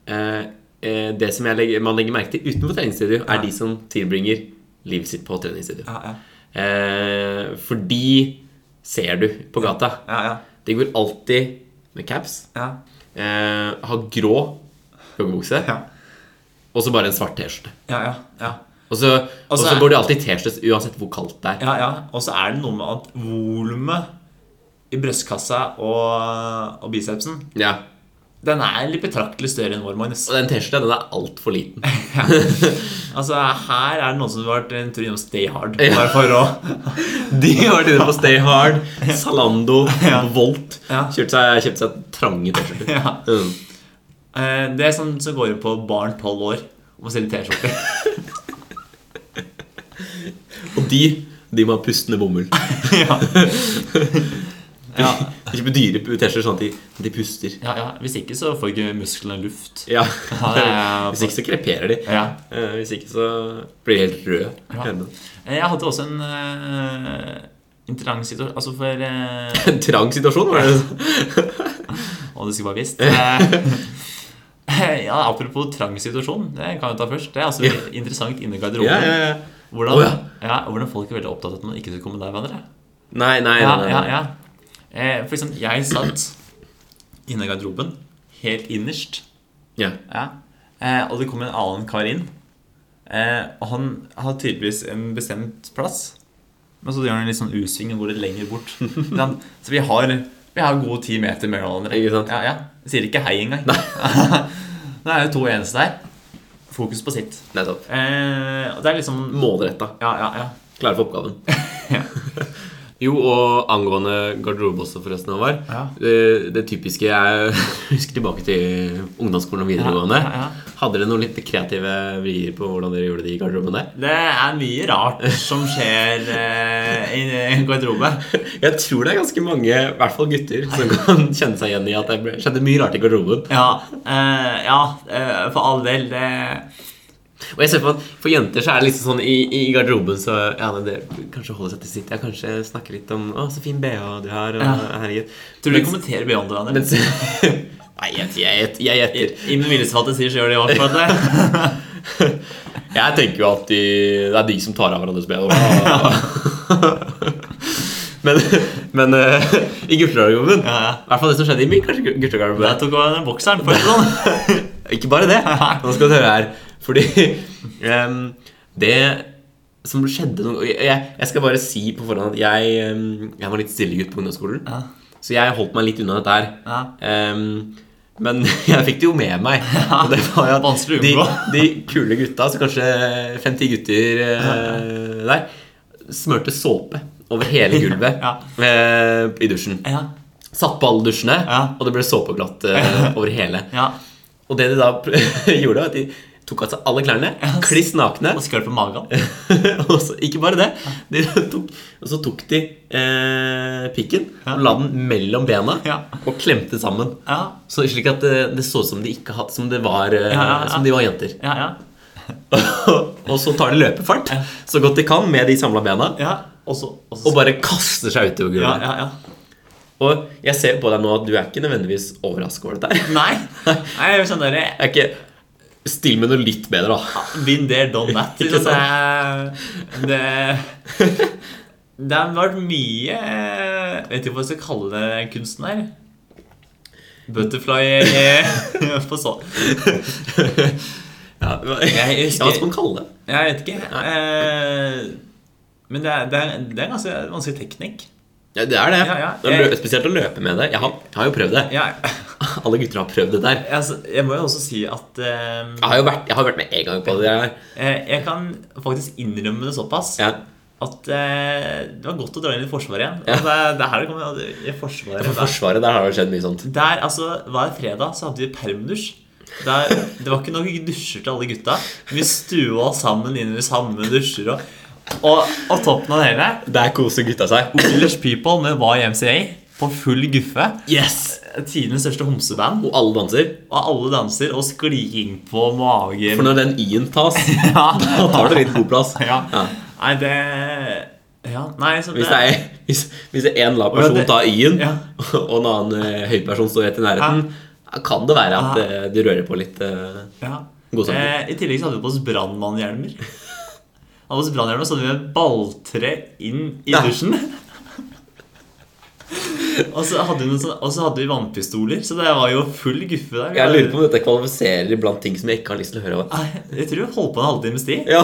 [SPEAKER 1] eh, eh, Det som jeg legger, man legger merke til utenfor treningsstudio, er de som tilbringer livet sitt på treningsstudio.
[SPEAKER 2] Ja, ja.
[SPEAKER 1] Eh, for de ser du på gata.
[SPEAKER 2] Ja, ja.
[SPEAKER 1] De går alltid med caps,
[SPEAKER 2] ja.
[SPEAKER 1] eh, har grå joggebukse
[SPEAKER 2] Ja.
[SPEAKER 1] og så bare en svart T-skjorte.
[SPEAKER 2] ja, ja, ja.
[SPEAKER 1] Og så og
[SPEAKER 2] Og så
[SPEAKER 1] så
[SPEAKER 2] er-
[SPEAKER 1] går de alltid i T-skjorte uansett hvor kaldt det er.
[SPEAKER 2] ja, ja. Og så er det noe med at volumet i brystkassa og, og bicepsen
[SPEAKER 1] Ja.
[SPEAKER 2] Den er litt betraktelig større enn vår, Magnus.
[SPEAKER 1] Og den T-skjorta den er altfor liten.
[SPEAKER 2] Altså, her er det noen som har vært en tur innom Stay Hard.
[SPEAKER 1] Ja.
[SPEAKER 2] Bare for å *laughs*
[SPEAKER 1] De har vært inne på Stay Hard, Zalando, Volt.
[SPEAKER 2] Ja.
[SPEAKER 1] Kjøpt seg, kjøpt seg trange T-skjorter.
[SPEAKER 2] ja.
[SPEAKER 1] Mm.
[SPEAKER 2] Eh, Det er sånn som går inn på barn 12 år og må selge T-skjorter.
[SPEAKER 1] Og de de må ha pustende bomull.
[SPEAKER 2] *laughs*
[SPEAKER 1] *laughs*
[SPEAKER 2] ja. ja.
[SPEAKER 1] De kjøper dyre T-skjorter sånn at de, de puster.
[SPEAKER 2] *laughs* ja, ja. Hvis ikke så får ikke musklene luft.
[SPEAKER 1] Ja.
[SPEAKER 2] Ja, det er-
[SPEAKER 1] *laughs* Hvis ikke så kreperer de.
[SPEAKER 2] Ja.
[SPEAKER 1] Eh, Hvis ikke så blir de helt røde.
[SPEAKER 2] Ja.
[SPEAKER 1] Hendene.
[SPEAKER 2] Eh, Jeg hadde også en uh, interessant situasjon Altså for eh,
[SPEAKER 1] *laughs* En trang situasjon, var det?
[SPEAKER 2] Å, du skulle bare *laughs* visst. Eh, ja, apropos trang situasjon. Det kan jeg ta først. Det er altså interessant inne i garderoben.
[SPEAKER 1] Ja, ja, ja.
[SPEAKER 2] Hvordan,
[SPEAKER 1] Å,
[SPEAKER 2] ja.
[SPEAKER 1] ja.
[SPEAKER 2] hvordan folk er veldig opptatt av at man ikke skal komme der hverandre.
[SPEAKER 1] Nei, nei,
[SPEAKER 2] Ja,
[SPEAKER 1] nei,
[SPEAKER 2] ja,
[SPEAKER 1] nei.
[SPEAKER 2] ja. Eh, for eksempel, jeg satt inne i garderoben, helt innerst.
[SPEAKER 1] Ja.
[SPEAKER 2] Ja. Eh, og det kom en annen kar inn. Eh, og han har tydeligvis en
[SPEAKER 1] *laughs*
[SPEAKER 2] bestemt plass. Men så gjør han en litt sånn U-sving og går litt lenger bort. Ikke sant? Så vi har Vi har gode ti meter mellom hverandre.
[SPEAKER 1] Ikke sant?
[SPEAKER 2] Ja, ja. Sier ikke hei engang. *laughs* Da er det to eneste der. Fokus på sitt.
[SPEAKER 1] Nettopp.
[SPEAKER 2] Eh, og det er liksom
[SPEAKER 1] Målretta.
[SPEAKER 2] Ja, ja,
[SPEAKER 1] *laughs*
[SPEAKER 2] ja.
[SPEAKER 1] Klare for oppgaven. Jo, og angående garderobe også, forresten, Håvard. Eh,
[SPEAKER 2] Ja.
[SPEAKER 1] Det, det typiske Jeg *laughs* husker tilbake til ungdomsskolen og videregående.
[SPEAKER 2] Ja, ja, ja.
[SPEAKER 1] Hadde dere noen litt kreative vrier på hvordan dere gjorde det i garderoben der? *laughs*
[SPEAKER 2] Det er mye rart som skjer eh, i en garderobe.
[SPEAKER 1] Jeg tror det er ganske mange, i hvert fall gutter, som kan *laughs* kjenne seg igjen i at det ble- skjedde mye rart i garderoben.
[SPEAKER 2] Ja, eh, ja eh, for all del. Det,
[SPEAKER 1] Og jeg ser for meg at for jenter så er det liksom sånn i, i garderoben så ja, nei, det, Kanskje holde seg til sitt. Ja, kanskje snakke litt om 'Å, så fin BH du har.' Og,
[SPEAKER 2] Ja.
[SPEAKER 1] Herregud.
[SPEAKER 2] tror du de
[SPEAKER 1] Mens-
[SPEAKER 2] kommenterer Beyond hverandre?
[SPEAKER 1] mens- *laughs* Nei, jeg jeg- jeg
[SPEAKER 2] I
[SPEAKER 1] gjetter.
[SPEAKER 2] i den villeste fantasi så gjør de i hvert fall det.
[SPEAKER 1] Jeg tenker jo at de, det er de som tar av hverandres BH. *laughs* men men eh, i guttegarderoben
[SPEAKER 2] Ja, ja.
[SPEAKER 1] I hvert fall det som skjedde i min kanskje gu- guttegarderobe.
[SPEAKER 2] Jeg tok av den bokseren. For å si det sånn.
[SPEAKER 1] Ikke bare
[SPEAKER 2] *laughs*
[SPEAKER 1] det. Nå skal du høre her. Fordi em, det som skjedde noen jeg, jeg skal bare si på forhånd at jeg, em, jeg var litt stille gutt på ungdomsskolen.
[SPEAKER 2] Ja.
[SPEAKER 1] Så jeg holdt meg litt unna dette her.
[SPEAKER 2] Ja.
[SPEAKER 1] Em, men *laughs* jeg fikk det jo med meg. Og det var jo at
[SPEAKER 2] Vanskelig å
[SPEAKER 1] de,
[SPEAKER 2] unngå.
[SPEAKER 1] de kule gutta, så kanskje 50 gutter eh, der, smurte såpe over hele gulvet
[SPEAKER 2] *laughs* Ja.
[SPEAKER 1] eh, i dusjen.
[SPEAKER 2] Ja,
[SPEAKER 1] Satt på alle dusjene,
[SPEAKER 2] Ja.
[SPEAKER 1] og det ble såpeglatt eh,
[SPEAKER 2] *laughs*
[SPEAKER 1] over hele.
[SPEAKER 2] ja.
[SPEAKER 1] Og det de da *laughs* pr- gjorde, var at de tok av seg alle klærne, kliss nakne. *laughs*
[SPEAKER 2] Og skvulp på magen.
[SPEAKER 1] og så, ikke bare det, de tok, og så tok de eh, pikken
[SPEAKER 2] Ja.
[SPEAKER 1] og la den mellom bena
[SPEAKER 2] Ja.
[SPEAKER 1] og klemte sammen.
[SPEAKER 2] Ja,
[SPEAKER 1] Så slik at eh, det, det så ut som de ikke hadde Som, det var, eh,
[SPEAKER 2] Ja, ja, ja.
[SPEAKER 1] som de var jenter. *laughs*
[SPEAKER 2] ja, ja.
[SPEAKER 1] og så tar de løpefart så godt de kan med de samla bena.
[SPEAKER 2] ja. Og så og så-
[SPEAKER 1] Og bare kaster seg utover
[SPEAKER 2] ja,
[SPEAKER 1] gulvet.
[SPEAKER 2] ja, ja.
[SPEAKER 1] Og jeg ser på deg nå at du er ikke nødvendigvis overraska over dette. her.
[SPEAKER 2] Nei. Nei, jeg er sånn der,
[SPEAKER 1] Jeg er ikke Still med noe litt bedre, da.
[SPEAKER 2] Been there, *laughs* done that.
[SPEAKER 1] Ikke
[SPEAKER 2] Liksom. Det, det, det har vært mye eh, Vet ikke hva jeg skal kalle det kunsten her. Butterfly eh, *laughs* på så.
[SPEAKER 1] Ja,
[SPEAKER 2] Jeg husker-
[SPEAKER 1] Ja, hva skal man kalle det?
[SPEAKER 2] Jeg vet ikke. Eh, men det er, det, er, det er ganske vanskelig teknikk.
[SPEAKER 1] Ja, det er det.
[SPEAKER 2] Ja, ja.
[SPEAKER 1] Det er lø-
[SPEAKER 2] Jeg-
[SPEAKER 1] Spesielt å løpe med det. Jeg har, jeg har jo prøvd det.
[SPEAKER 2] Jeg,
[SPEAKER 1] *laughs* Alle gutter har prøvd det der.
[SPEAKER 2] altså, jeg må jo også si at eh,
[SPEAKER 1] Jeg har jo vært, jeg har vært med en gang på det der.
[SPEAKER 2] eh, jeg kan faktisk innrømme det såpass
[SPEAKER 1] Ja.
[SPEAKER 2] at eh, det var godt å dra inn i Forsvaret igjen.
[SPEAKER 1] Ja.
[SPEAKER 2] Og Det, er- det er her det kommer i forsvaret,
[SPEAKER 1] For
[SPEAKER 2] det er-
[SPEAKER 1] Forsvaret, der har det skjedd mye sånt.
[SPEAKER 2] Der, altså, Hver fredag så hadde vi permdusj. Der, det var ikke nok dusjer til alle gutta. Vi stua oss sammen inn i samme dusjer. Og, og, og toppen av det hele
[SPEAKER 1] Der koser gutta seg.
[SPEAKER 2] Village People med YMCA på full guffe.
[SPEAKER 1] Yes!
[SPEAKER 2] Tidenes største homseband.
[SPEAKER 1] Og alle danser.
[SPEAKER 2] Og alle danser og skliing på magen.
[SPEAKER 1] For når den i-en
[SPEAKER 2] *laughs*
[SPEAKER 1] tas,
[SPEAKER 2] ja.
[SPEAKER 1] da tar det litt god plass.
[SPEAKER 2] ja.
[SPEAKER 1] Ja.
[SPEAKER 2] Nei, det Ja, nei, så
[SPEAKER 1] Hvis det er hvis, hvis det er en lav
[SPEAKER 2] Ja,
[SPEAKER 1] person
[SPEAKER 2] det-
[SPEAKER 1] tar i-en,
[SPEAKER 2] Ja.
[SPEAKER 1] *laughs* og en annen eh, høy person står rett i nærheten, da kan det være at
[SPEAKER 2] Ja.
[SPEAKER 1] eh, du rører på litt eh,
[SPEAKER 2] ja.
[SPEAKER 1] God sak.
[SPEAKER 2] eh, I tillegg så hadde vi på oss brannmannhjelmer. Hadde oss brannhjelmer, så hadde vi et balltre inn i
[SPEAKER 1] Ja.
[SPEAKER 2] dusjen. og, så hadde vi noen sånne, og så hadde vi vannpistoler, så det var jo full guffe der.
[SPEAKER 1] Jeg lurer på om dette kvalifiserer blant ting som jeg ikke har lyst til å høre om.
[SPEAKER 2] Nei, Jeg tror vi holdt på en halvtimes tid. *laughs*
[SPEAKER 1] Ja.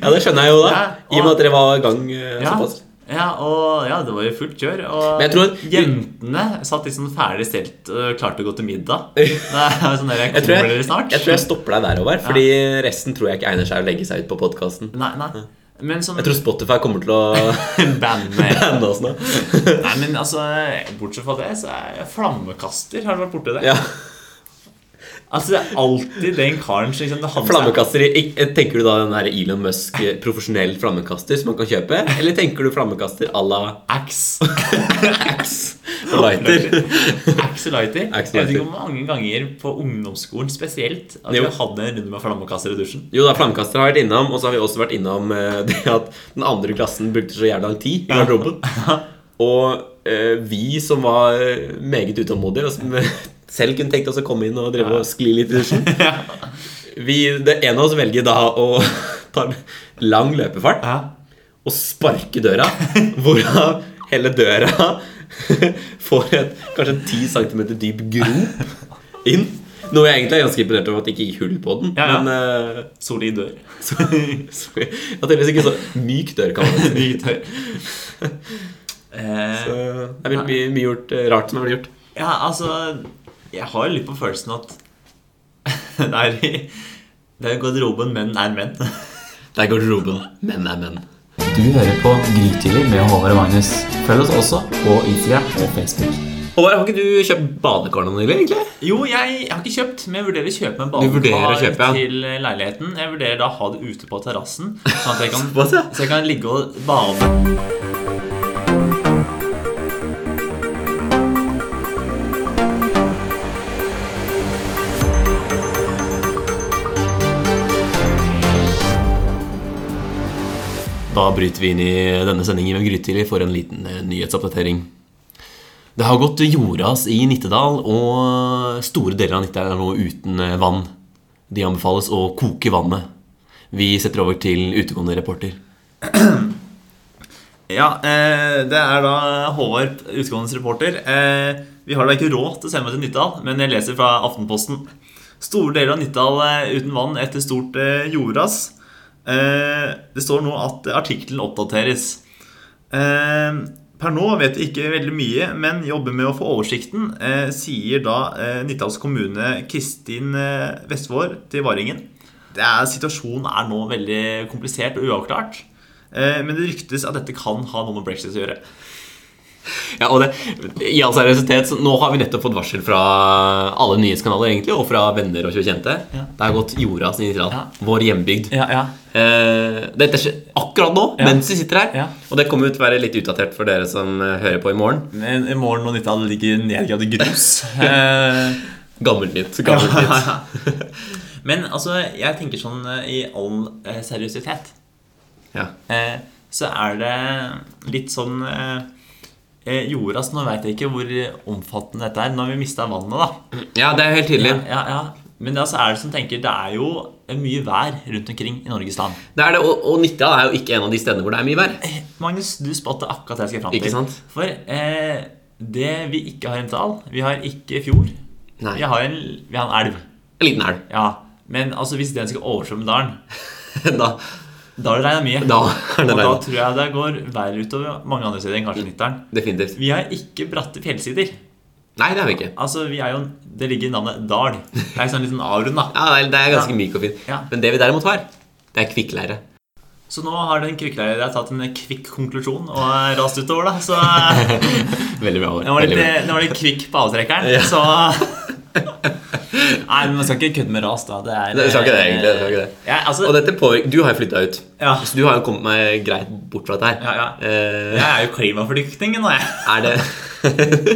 [SPEAKER 1] ja, det skjønner jeg jo da. I og med at dere var i gang eh,
[SPEAKER 2] Ja.
[SPEAKER 1] såpass.
[SPEAKER 2] Ja, og ja, det var jo fullt kjør. Og
[SPEAKER 1] Men jeg tror at-
[SPEAKER 2] jentene satt liksom ferdig stelt og klarte å gå til
[SPEAKER 1] *laughs*
[SPEAKER 2] middag. Det er sånn der,
[SPEAKER 1] Jeg tror jeg,
[SPEAKER 2] kommer dere snart?
[SPEAKER 1] jeg tror jeg stopper deg der, Håvard. Fordi resten tror jeg ikke egner seg å legge seg ut på podkasten.
[SPEAKER 2] Nei, nei. Men sånn
[SPEAKER 1] Jeg tror Spotify kommer til å
[SPEAKER 2] *laughs* bandet
[SPEAKER 1] banne oss nå.
[SPEAKER 2] Nei, men altså, bortsett fra det, så er flammekaster Har du vært borti det?
[SPEAKER 1] Ja,
[SPEAKER 2] Altså, det er alltid den karen som liksom, det er han som er-
[SPEAKER 1] flammekaster i- ik- Tenker du da den der Elon Musk eh, profesjonell flammekaster som man kan kjøpe? Eller tenker du flammekaster à la
[SPEAKER 2] Axe.
[SPEAKER 1] Axe og lighter?
[SPEAKER 2] Axe lighter.
[SPEAKER 1] Axe
[SPEAKER 2] Jeg vet
[SPEAKER 1] lighter.
[SPEAKER 2] ikke hvor mange ganger på ungdomsskolen spesielt at vi
[SPEAKER 1] Jo.
[SPEAKER 2] hadde en runde med flammekaster i dusjen.
[SPEAKER 1] Jo da, flammekaster har vært innom, og så har vi også vært innom eh, *laughs* det at den andre klassen brukte så jævla lang tid i
[SPEAKER 2] *laughs*
[SPEAKER 1] garderoben. Og eh, vi som var eh, meget utålmodige, og som eh, selv kunne tenkt oss å komme inn og drive og skli litt i dusjen
[SPEAKER 2] *laughs*
[SPEAKER 1] vi, Det ene av oss velger da å *laughs* ta en lang løpefart
[SPEAKER 2] Ja.
[SPEAKER 1] og sparke
[SPEAKER 2] *laughs*
[SPEAKER 1] døra, hvorav hele døra *laughs* får et kanskje 10 cm dyp grop inn. Noe jeg egentlig er ganske imponert over at det ikke gikk hull på den.
[SPEAKER 2] Ja, ja.
[SPEAKER 1] Men eh,
[SPEAKER 2] Solid dør. *laughs*
[SPEAKER 1] så, liksom *laughs* så, jeg har tydeligvis ikke så myk dør, kan man si.
[SPEAKER 2] Ny dør. Eh,
[SPEAKER 1] Så det er mye, mye, mye gjort, eh, rart som er blitt gjort.
[SPEAKER 2] ja, altså Jeg har litt på følelsen at *laughs* det er i det er i garderoben menn er menn.
[SPEAKER 1] Det er garderoben. Menn er menn.
[SPEAKER 3] Du hører på Grytidlig med Håvard og Magnus. Følg oss også på Instagram og Facebook.
[SPEAKER 1] Håvard, har ikke du kjøpt badekar nå nylig, egentlig?
[SPEAKER 2] Jo, jeg, jeg har ikke kjøpt, men jeg vurderer å kjøpe en
[SPEAKER 1] Du vurderer å
[SPEAKER 2] badekar
[SPEAKER 1] kjøpe, ja.
[SPEAKER 2] til eh, leiligheten. Jeg vurderer da å ha det ute på terrassen, sånn at jeg
[SPEAKER 1] *laughs*
[SPEAKER 2] kan,
[SPEAKER 1] Såpass, ja.
[SPEAKER 2] så jeg kan ligge og bade.
[SPEAKER 1] Da bryter vi inn i denne sendingen med Grytidlig for en liten eh, nyhetsoppdatering. Det har gått jordas i Nittedal, og store deler av Nittedal er nå uten eh, vann. De anbefales å koke vannet. Vi setter over til utegående reporter.
[SPEAKER 2] Ja, eh, det er da Håvard, utgående reporter. Eh, vi har da ikke råd til å sende meg til Nittedal, men jeg leser fra Aftenposten. Store deler av Nittedal eh, uten vann etter stort eh, jordras. Eh, det står nå at artikkelen oppdateres. Eh, per nå vet vi ikke veldig mye, men jobber med å få oversikten, eh, sier da eh, Nittedals kommune Kristin eh, Vestvår til Varingen. Det er, situasjonen er nå veldig komplisert og uavklart. Eh, men det ryktes at dette kan ha noe med brexit å gjøre.
[SPEAKER 1] Ja, og det, I all seriøsitet, så nå har vi nettopp fått varsel fra alle nyhetskanaler egentlig, og fra venner og kjente.
[SPEAKER 2] Ja.
[SPEAKER 1] Det har gått jordas i Nittedal.
[SPEAKER 2] Ja.
[SPEAKER 1] Vår hjembygd.
[SPEAKER 2] Ja, ja.
[SPEAKER 1] Eh, dette skjer akkurat nå,
[SPEAKER 2] Ja.
[SPEAKER 1] mens vi sitter her.
[SPEAKER 2] Ja.
[SPEAKER 1] Og det kommer jo til å være litt utdatert for dere som eh, hører på i morgen.
[SPEAKER 2] Men i morgen når Nittedal ligger nedgravd i *laughs* grus eh,
[SPEAKER 1] Gammelt nytt. Gammelt
[SPEAKER 2] *laughs*
[SPEAKER 1] nytt.
[SPEAKER 2] Men altså, jeg tenker sånn eh, i all eh, seriøsitet
[SPEAKER 1] Ja.
[SPEAKER 2] eh, Så er det litt sånn eh, eh, jordas Nå veit jeg ikke hvor omfattende dette er. Nå har vi mista vannet, da.
[SPEAKER 1] ja, det er helt tydelig.
[SPEAKER 2] Ja, ja, ja. Men altså er det som tenker, det er jo mye vær rundt omkring i Norges land.
[SPEAKER 1] Det er det, og, og Nittedal er jo ikke en av de stedene hvor det er mye vær.
[SPEAKER 2] Magnus, du spådde akkurat det jeg skal fram til.
[SPEAKER 1] Ikke sant?
[SPEAKER 2] For eh, det vi ikke har i Nittedal Vi har ikke fjord.
[SPEAKER 1] Nei.
[SPEAKER 2] Vi har, en, vi har en elv.
[SPEAKER 1] En liten elv. *laughs*
[SPEAKER 2] Ja. Men altså, hvis den skal oversvømme dalen,
[SPEAKER 1] Da,
[SPEAKER 2] da har det regna mye.
[SPEAKER 1] da er
[SPEAKER 2] og
[SPEAKER 1] det Mm.
[SPEAKER 2] da
[SPEAKER 1] regn.
[SPEAKER 2] tror jeg det går vær utover mange andre steder enn kanskje Nittedalen.
[SPEAKER 1] Definitivt.
[SPEAKER 2] Vi har ikke bratte fjellsider.
[SPEAKER 1] Nei, det er vi ikke.
[SPEAKER 2] Altså, vi er jo, Det ligger i navnet dal. Det er en sånn liten avrund, da.
[SPEAKER 1] Ja, det er, det er ganske myk og fin.
[SPEAKER 2] Ja.
[SPEAKER 1] Men det vi derimot har, det er kvikkleire.
[SPEAKER 2] Så nå har den kvikkleieren tatt en kvikk konklusjon og rast utover, da. Så eh,
[SPEAKER 1] Veldig bra.
[SPEAKER 2] Den var
[SPEAKER 1] Veldig
[SPEAKER 2] litt,
[SPEAKER 1] bra.
[SPEAKER 2] den var litt kvikk på avtrekkeren,
[SPEAKER 1] Ja.
[SPEAKER 2] så Nei, men man skal ikke kødde med ras, da. Det er,
[SPEAKER 1] Nei, du skal ikke det, egentlig. Du skal ikke det.
[SPEAKER 2] Ja, altså,
[SPEAKER 1] Og dette påvirker Du har jo flytta ut.
[SPEAKER 2] ja,
[SPEAKER 1] Så du har jo kommet meg greit bort fra dette her.
[SPEAKER 2] ja, ja.
[SPEAKER 1] Eh,
[SPEAKER 2] Jeg er jo klimaflyktning nå, jeg.
[SPEAKER 1] Er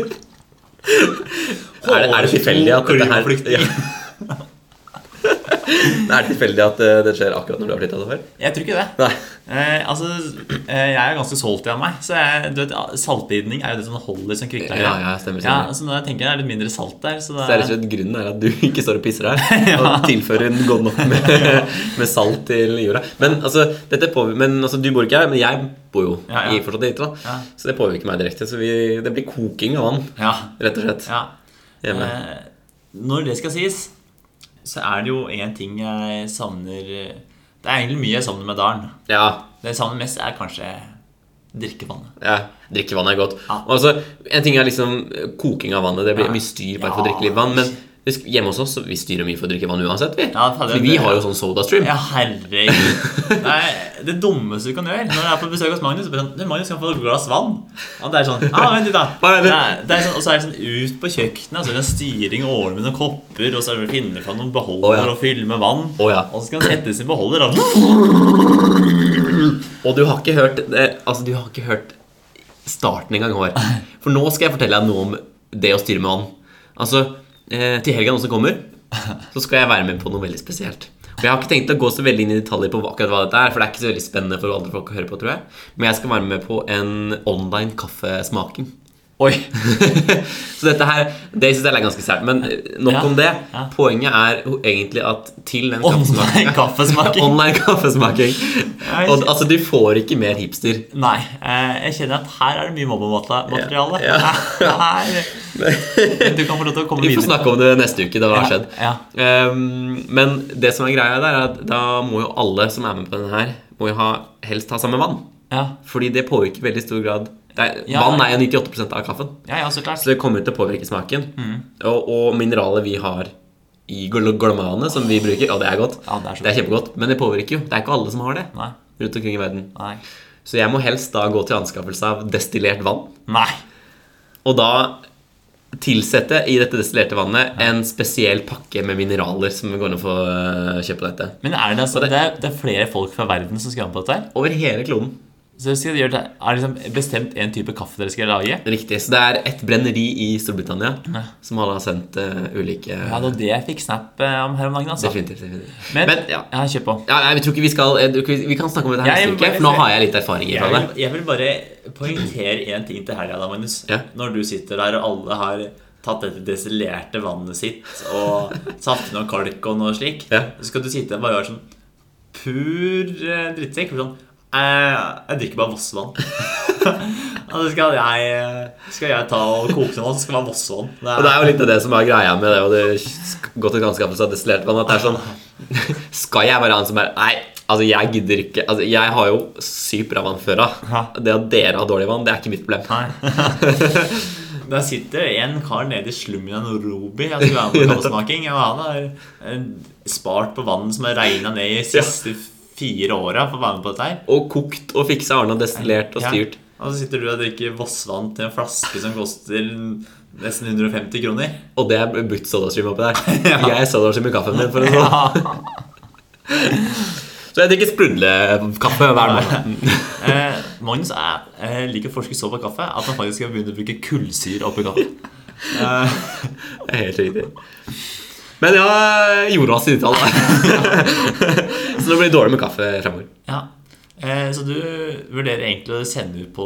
[SPEAKER 1] det Er det, er det tilfeldig at dette her
[SPEAKER 2] Klimaflyktning.
[SPEAKER 1] Ja. Er *laughs* det tilfeldig at eh, det skjer akkurat når du har flytta før?
[SPEAKER 2] Jeg tror ikke det.
[SPEAKER 1] Nei.
[SPEAKER 2] Eh, altså, eh, jeg er ganske salty av meg. Så jeg, du vet, Saltbinding er jo det som holder som kvikkleire.
[SPEAKER 1] Ja, ja, stemmer, stemmer.
[SPEAKER 2] Ja, så når jeg tenker det er litt mindre salt der, så det
[SPEAKER 1] Så er det rett og slett grunnen er at du ikke står og pisser her *laughs* og tilfører godt nok med, *laughs* med salt til jorda. Men altså, dette påvirker, men altså, du bor ikke her, men jeg bor jo
[SPEAKER 2] Ja, ja.
[SPEAKER 1] i fortsatt i Italia.
[SPEAKER 2] Ja.
[SPEAKER 1] Så det påvirker meg direkte. Så vi, det blir koking av vann,
[SPEAKER 2] Ja,
[SPEAKER 1] rett og slett.
[SPEAKER 2] ja.
[SPEAKER 1] Hjemme.
[SPEAKER 2] Eh, når det skal sies, så er det jo én ting jeg savner eh, Det er egentlig mye jeg savner med dalen.
[SPEAKER 1] Ja.
[SPEAKER 2] Det jeg savner mest, er kanskje drikkevannet.
[SPEAKER 1] ja. Drikkevann er godt.
[SPEAKER 2] Ja.
[SPEAKER 1] Og altså, en ting er liksom eh, koking av vannet. Det blir
[SPEAKER 2] Ja.
[SPEAKER 1] mye styr bare
[SPEAKER 2] Ja.
[SPEAKER 1] for å drikke litt vann. Men husk, hjemme hos oss så vi styrer mye for å drikke vann uansett, vi.
[SPEAKER 2] Ja, fader,
[SPEAKER 1] Fordi vi
[SPEAKER 2] det-
[SPEAKER 1] har jo sånn sodastream.
[SPEAKER 2] Ja, herregud. Det er det dummeste du kan gjøre når du er på besøk hos Magnus. Så bare sånn, «Du, Magnus kan få et glass vann. Og det er sånn ah, vent litt da
[SPEAKER 1] Hva er det?
[SPEAKER 2] det er, det er sånn, Og så er det sånn ut på kjøkkenet, og så er det en styring og ordner med noen kopper, og så er det å finne fram noen beholder
[SPEAKER 1] Å, ja.
[SPEAKER 2] og fylle med vann.
[SPEAKER 1] Å, ja.
[SPEAKER 2] Og så skal han sette sin
[SPEAKER 1] *laughs*
[SPEAKER 2] beholder og
[SPEAKER 1] Og du har ikke hørt det, Altså, du har ikke hørt starten engang, Håvard.
[SPEAKER 2] *laughs*
[SPEAKER 1] For nå skal jeg fortelle deg noe om det å styre med vann. Altså, eh, til helga nå som kommer,
[SPEAKER 2] *laughs*
[SPEAKER 1] så skal jeg være med på noe veldig spesielt. Og jeg har ikke tenkt å gå så veldig inn i detaljer på hva- akkurat hva dette er, for det er ikke så veldig spennende for andre folk å høre på, tror jeg. Men jeg skal være med på en online kaffesmaking.
[SPEAKER 2] Oi.
[SPEAKER 1] *laughs* Så dette her, det synes jeg er ganske sært. Men eh, nok
[SPEAKER 2] Ja.
[SPEAKER 1] om det.
[SPEAKER 2] Ja.
[SPEAKER 1] Poenget er jo egentlig at til den
[SPEAKER 2] Online kaffesmaking.
[SPEAKER 1] Online kaffesmaking. Og, altså, du får ikke mer
[SPEAKER 2] *laughs*
[SPEAKER 1] hipster.
[SPEAKER 2] Nei. Eh, jeg kjenner at her er det mye mobbemateriale.
[SPEAKER 1] Ja,
[SPEAKER 2] *laughs*
[SPEAKER 1] ja.
[SPEAKER 2] Her- Du kan få lov til å komme
[SPEAKER 1] Vi får
[SPEAKER 2] videre.
[SPEAKER 1] snakke om det neste uke. da det har skjedd.
[SPEAKER 2] Ja,
[SPEAKER 1] Ehm, men det som er greia der, er at da må jo alle som er med på denne her, må jo ha, helst ha samme vann.
[SPEAKER 2] ja, ja.
[SPEAKER 1] Fordi det påvirker i veldig stor grad Det er,
[SPEAKER 2] Ja.
[SPEAKER 1] Vann er jo 98 av kaffen.
[SPEAKER 2] Ja, ja, så klart.
[SPEAKER 1] Så det kommer til å påvirke smaken.
[SPEAKER 2] Mm.
[SPEAKER 1] Og, og mineralet vi har i gl- glomane, som vi bruker, og det er godt.
[SPEAKER 2] Ja, det er så
[SPEAKER 1] kjempegodt. Men det påvirker jo. Det er ikke alle som har det
[SPEAKER 2] Nei.
[SPEAKER 1] rundt omkring i verden.
[SPEAKER 2] Nei.
[SPEAKER 1] Så jeg må helst da gå til anskaffelse av destillert vann.
[SPEAKER 2] Nei.
[SPEAKER 1] Og da tilsette i dette destillerte vannet en spesiell pakke med mineraler som går an å få øh, kjøpe på dette.
[SPEAKER 2] Men er det, altså, det, er, det er flere folk fra verden som skal være med på dette her.
[SPEAKER 1] Over hele kloden.
[SPEAKER 2] Så skal dere gjøre det, er det liksom bestemt en type kaffe dere skal lage?
[SPEAKER 1] Riktig. Så det er et brenneri i Storbritannia som alle har sendt øh, ulike
[SPEAKER 2] Ja, det var det jeg fikk snap eh, om her om dagen, altså.
[SPEAKER 1] Definitivt. definitivt.
[SPEAKER 2] Men,
[SPEAKER 1] Men ja.
[SPEAKER 2] ja, kjør på.
[SPEAKER 1] Ja, nei, vi tror ikke vi skal jeg tror ikke Vi vi kan snakke om dette her
[SPEAKER 2] Jeg
[SPEAKER 1] neste uke,
[SPEAKER 2] bare-
[SPEAKER 1] for nå har jeg litt erfaringer
[SPEAKER 2] Jeg
[SPEAKER 1] fra
[SPEAKER 2] vil,
[SPEAKER 1] det.
[SPEAKER 2] jeg vil bare poengtere én ting til helga, da, Magnus.
[SPEAKER 1] Ja.
[SPEAKER 2] Når du sitter der og alle har tatt dette destillerte vannet sitt og satt i noe kalk og noe slik,
[SPEAKER 1] Ja.
[SPEAKER 2] så skal du sitte og bare være sånn pur eh, drittsekk. Sånn, eh, jeg drikker
[SPEAKER 1] *laughs*
[SPEAKER 2] bare Vossevann. *laughs* Og så skal jeg, eh, skal jeg ta og koke noe vann, så skal det være Vossevann. Det
[SPEAKER 1] Og det er jo litt av det som er greia med det, og det sk- gå til anskaffelse av destillert vann, at det er sånn *laughs* Skal jeg være han som er Nei, altså, jeg gidder ikke Altså, jeg har jo sykt bra vann før av.
[SPEAKER 2] Ja.
[SPEAKER 1] Det at dere har dårlig vann, det er ikke mitt problem.
[SPEAKER 2] *laughs* Der sitter en kar nede i slummen av Norobi og skal
[SPEAKER 1] *laughs*
[SPEAKER 2] være med på kaffesmaking. Og han har eh, spart på vann som har regna ned i siste fire åra for å være med på dette her.
[SPEAKER 1] Og kokt og fiksa Arne og destillert og
[SPEAKER 2] Ja.
[SPEAKER 1] styrt.
[SPEAKER 2] Og så sitter du og drikker Vossvann til en flaske som koster nesten 150 kroner.
[SPEAKER 1] Og det er brukt sodastream oppi der.
[SPEAKER 2] *laughs* Ja.
[SPEAKER 1] Jeg er sodastream i kaffen min, for å si det sånn. Så jeg drikker sprudlekaffe hver morgen.
[SPEAKER 2] Eh, Magnus er, eh, liker å forske så på kaffe at han faktisk skal begynne å bruke kullsyre oppi kaffen.
[SPEAKER 1] Det er Helt riktig. Men ja, jordas utall. *laughs* Så det blir dårlig med kaffe fremover.
[SPEAKER 2] Ja. Eh, så du vurderer egentlig å sende ut på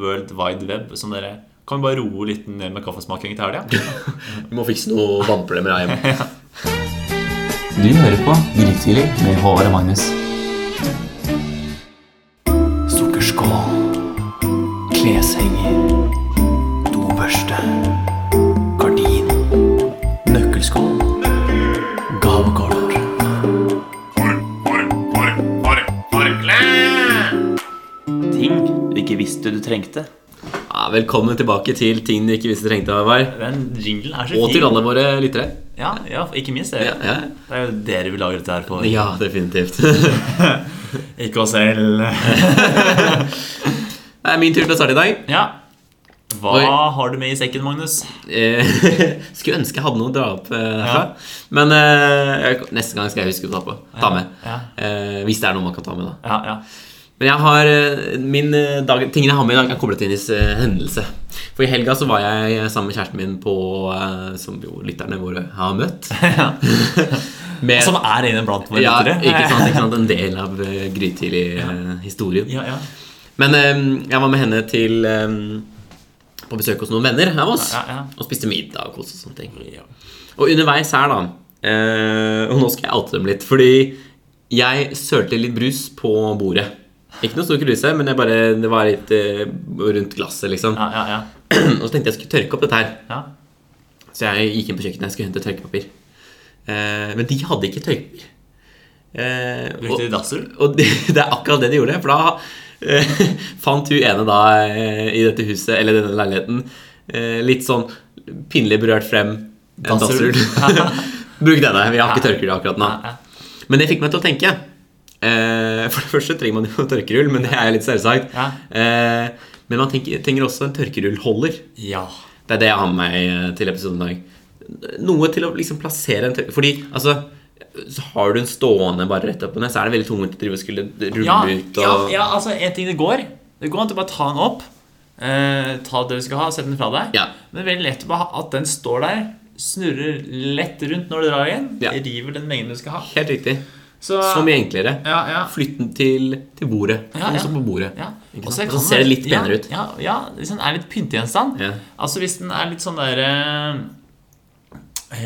[SPEAKER 2] World Wide Web som dere Kan vi bare roe litt ned med kaffesmaking til helga?
[SPEAKER 1] Vi må fikse noe vannproblemer her hjemme.
[SPEAKER 3] Du hører på Grytidlig med Håvard og Magnus.
[SPEAKER 4] Sukkerskål. Kleshenger. Dobørste. Gardin. Nøkkelskål. Gavekort.
[SPEAKER 2] Ting du ikke visste du trengte.
[SPEAKER 1] Ja, velkommen tilbake til ting du ikke visste du trengte. Håvard.
[SPEAKER 2] Den jinglen er så
[SPEAKER 1] Og til
[SPEAKER 2] fin.
[SPEAKER 1] alle våre lyttere.
[SPEAKER 2] Ja, ja, ikke minst
[SPEAKER 1] Ja,
[SPEAKER 2] dere.
[SPEAKER 1] ja.
[SPEAKER 2] Det er jo dere vi lager dette her for.
[SPEAKER 1] ja *laughs* definitivt.
[SPEAKER 2] Ikke
[SPEAKER 1] *laughs*
[SPEAKER 2] oss selv.
[SPEAKER 1] Det er min tur til å starte i dag.
[SPEAKER 2] Ja. Hva
[SPEAKER 1] Oi.
[SPEAKER 2] har du med i sekken, Magnus?
[SPEAKER 1] Eh, *laughs* Skulle ønske jeg hadde noe å dra opp eh, herfra. Men eh, jeg- neste gang skal jeg huske å ta, på. ta med.
[SPEAKER 2] Ja.
[SPEAKER 1] Eh, hvis det er noe man kan ta med, da.
[SPEAKER 2] Ja,
[SPEAKER 1] *laughs*
[SPEAKER 2] ja.
[SPEAKER 1] Men jeg har eh, min eh, dag, Tingene jeg har med i dag, er koblet inn i s- eh, hendelse. For i helga så var jeg sammen med kjæresten min på eh, Som jo lytterne våre har møtt. med,
[SPEAKER 2] Som er en blant våre
[SPEAKER 1] ja,
[SPEAKER 2] lyttere.
[SPEAKER 1] ikke sant, ikke sant, en del av eh, grytidlig-historien.
[SPEAKER 2] *laughs* Ja, ja.
[SPEAKER 1] Men eh, jeg var med henne til eh, på besøk hos noen venner av oss.
[SPEAKER 2] Ja, ja, ja.
[SPEAKER 1] Og spiste middag og koste oss og sånne ting.
[SPEAKER 2] Ja.
[SPEAKER 1] Og underveis her, da eh, Og nå skal jeg oute dem litt, fordi jeg sølte litt brus på bordet. Ikke noe stor kruse, men jeg bare, det var litt eh, rundt glasset, liksom.
[SPEAKER 2] Ja, ja, ja.
[SPEAKER 1] *clears throat* Og så tenkte jeg skulle tørke opp dette her.
[SPEAKER 2] ja.
[SPEAKER 1] Så jeg gikk inn på kjøkkenet jeg skulle hente tørkepapir. Eh, men de hadde ikke tørkepapir. Eh,
[SPEAKER 2] Brukte du dassrull?
[SPEAKER 1] og det, *laughs* det er akkurat det de gjorde. For da eh, *laughs* fant hun ene da eh, i dette huset, eller denne leiligheten, eh, litt sånn pinlig berørt frem en
[SPEAKER 2] Dassrull.
[SPEAKER 1] dassrull. Bruk denne. Vi har ikke tørkerull akkurat nå.
[SPEAKER 2] Ja,
[SPEAKER 1] Men det fikk meg til å tenke. Eh, for det første trenger man jo tørkerull, men det er litt selvsagt.
[SPEAKER 2] Ja.
[SPEAKER 1] Eh, men man tenker, trenger også en tørkerullholder.
[SPEAKER 2] Ja.
[SPEAKER 1] Det er det jeg har med meg eh, til episoden i dag. Noe til å liksom plassere en tørker Fordi altså så har du en stående bare rett opp og ned, så er det veldig tungt å drive og skulle rulle
[SPEAKER 2] Ja,
[SPEAKER 1] ut
[SPEAKER 2] ja,
[SPEAKER 1] og
[SPEAKER 2] ja, altså, en ting det går. Det går an til å bare ta den opp. Eh, ta det du skal ha, sett den fra deg.
[SPEAKER 1] Ja.
[SPEAKER 2] Men veldig lett å bare ha- at den står der, snurrer lett rundt når du drar igjen.
[SPEAKER 1] Ja.
[SPEAKER 2] River den mengden du skal ha.
[SPEAKER 1] Helt riktig.
[SPEAKER 2] Så,
[SPEAKER 1] Så mye enklere.
[SPEAKER 2] Ja, ja.
[SPEAKER 1] Flytt den til, til bordet.
[SPEAKER 2] Ja,
[SPEAKER 1] Den
[SPEAKER 2] ja.
[SPEAKER 1] står på bordet.
[SPEAKER 2] Ja.
[SPEAKER 1] Ikke
[SPEAKER 2] Og
[SPEAKER 1] sant?
[SPEAKER 2] kan
[SPEAKER 1] Og så ser
[SPEAKER 2] den-
[SPEAKER 1] det litt penere
[SPEAKER 2] ja,
[SPEAKER 1] ut.
[SPEAKER 2] Ja, ja, hvis den er litt pyntegjenstand.
[SPEAKER 1] Ja.
[SPEAKER 2] Altså hvis den er litt sånn derre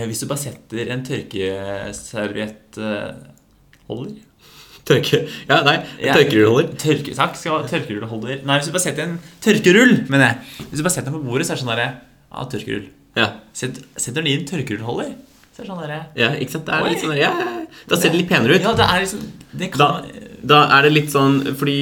[SPEAKER 2] Hvis du bare setter en tørkeserviett eh, Holder?
[SPEAKER 1] Tørke Ja, nei.
[SPEAKER 2] Ja.
[SPEAKER 1] Tørkeruller.
[SPEAKER 2] Tørke, takk, skal, tørkerullholder Nei, hvis du bare setter en tørkerull, mener jeg. Hvis du bare setter den på bordet, så er det sånn derre Ja, tørkerull.
[SPEAKER 1] Ja.
[SPEAKER 2] Sett, setter den i en tørkerullholder, så er det sånn derre
[SPEAKER 1] ja, ikke sant. Det er litt
[SPEAKER 2] Oi.
[SPEAKER 1] sånn, ja, ja, ja. Da ser det litt penere ut.
[SPEAKER 2] Ja, det er liksom Det
[SPEAKER 1] Da,
[SPEAKER 2] kan
[SPEAKER 1] da er det litt sånn Fordi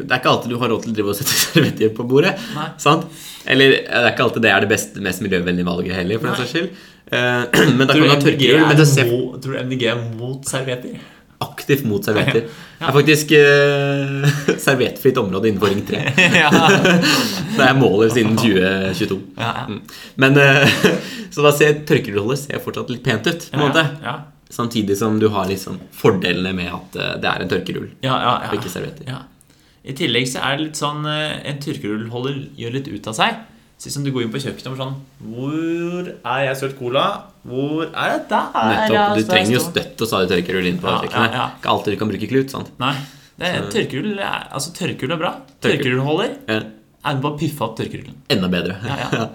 [SPEAKER 1] det er ikke alltid du har råd til å drive og sette *laughs* servietter på bordet.
[SPEAKER 2] Nei.
[SPEAKER 1] Sant? Eller eh, det er ikke alltid det er det beste, mest miljøvennlige valget heller, for den saks skyld. Eh, *clears throat* men da
[SPEAKER 2] Tror
[SPEAKER 1] kan
[SPEAKER 2] du
[SPEAKER 1] du ha
[SPEAKER 2] MDG
[SPEAKER 1] tørkerull. Men det
[SPEAKER 2] er
[SPEAKER 1] ser
[SPEAKER 2] mo- tror du MDG er mot
[SPEAKER 1] *laughs*
[SPEAKER 2] servietter?
[SPEAKER 1] aktivt mot servietter. Det er faktisk eh, *laughs* serviettfritt område innenfor Ring 3.
[SPEAKER 2] ja.
[SPEAKER 1] Det er målet siden 2022.
[SPEAKER 2] Ja, ja.
[SPEAKER 1] Mm. Men eh, *laughs* Så da ser tørkerullet ser fortsatt litt pent ut, på en måte.
[SPEAKER 2] Ja,
[SPEAKER 1] Samtidig som du har liksom fordelene med at eh, det er en tørkerull.
[SPEAKER 2] ja, ja, ja.
[SPEAKER 1] Og ikke servietter.
[SPEAKER 2] Ja. I tillegg så er det litt sånn eh, En tørkerullholder gjør litt ut av seg. Så liksom du går inn på kjøkkenet og sånn Hvor er jeg sølt cola? Hvor er altså?" jeg der? ja,
[SPEAKER 1] Nettopp, Du
[SPEAKER 2] så er jeg
[SPEAKER 1] trenger jo
[SPEAKER 2] stor.
[SPEAKER 1] støtt og stadig tørkerull inn på
[SPEAKER 2] Ja,
[SPEAKER 1] kjøkkenet.
[SPEAKER 2] ja, ja.
[SPEAKER 1] Ikke alltid du kan bruke klut. sant?
[SPEAKER 2] Nei. Det, tørkerull er, altså, tørkerull er bra.
[SPEAKER 1] Tørkerull.
[SPEAKER 2] Tørkerullholder
[SPEAKER 1] Eh,
[SPEAKER 2] er bare å piffe opp tørkerullen.
[SPEAKER 1] Enda bedre.
[SPEAKER 2] Ja, ja.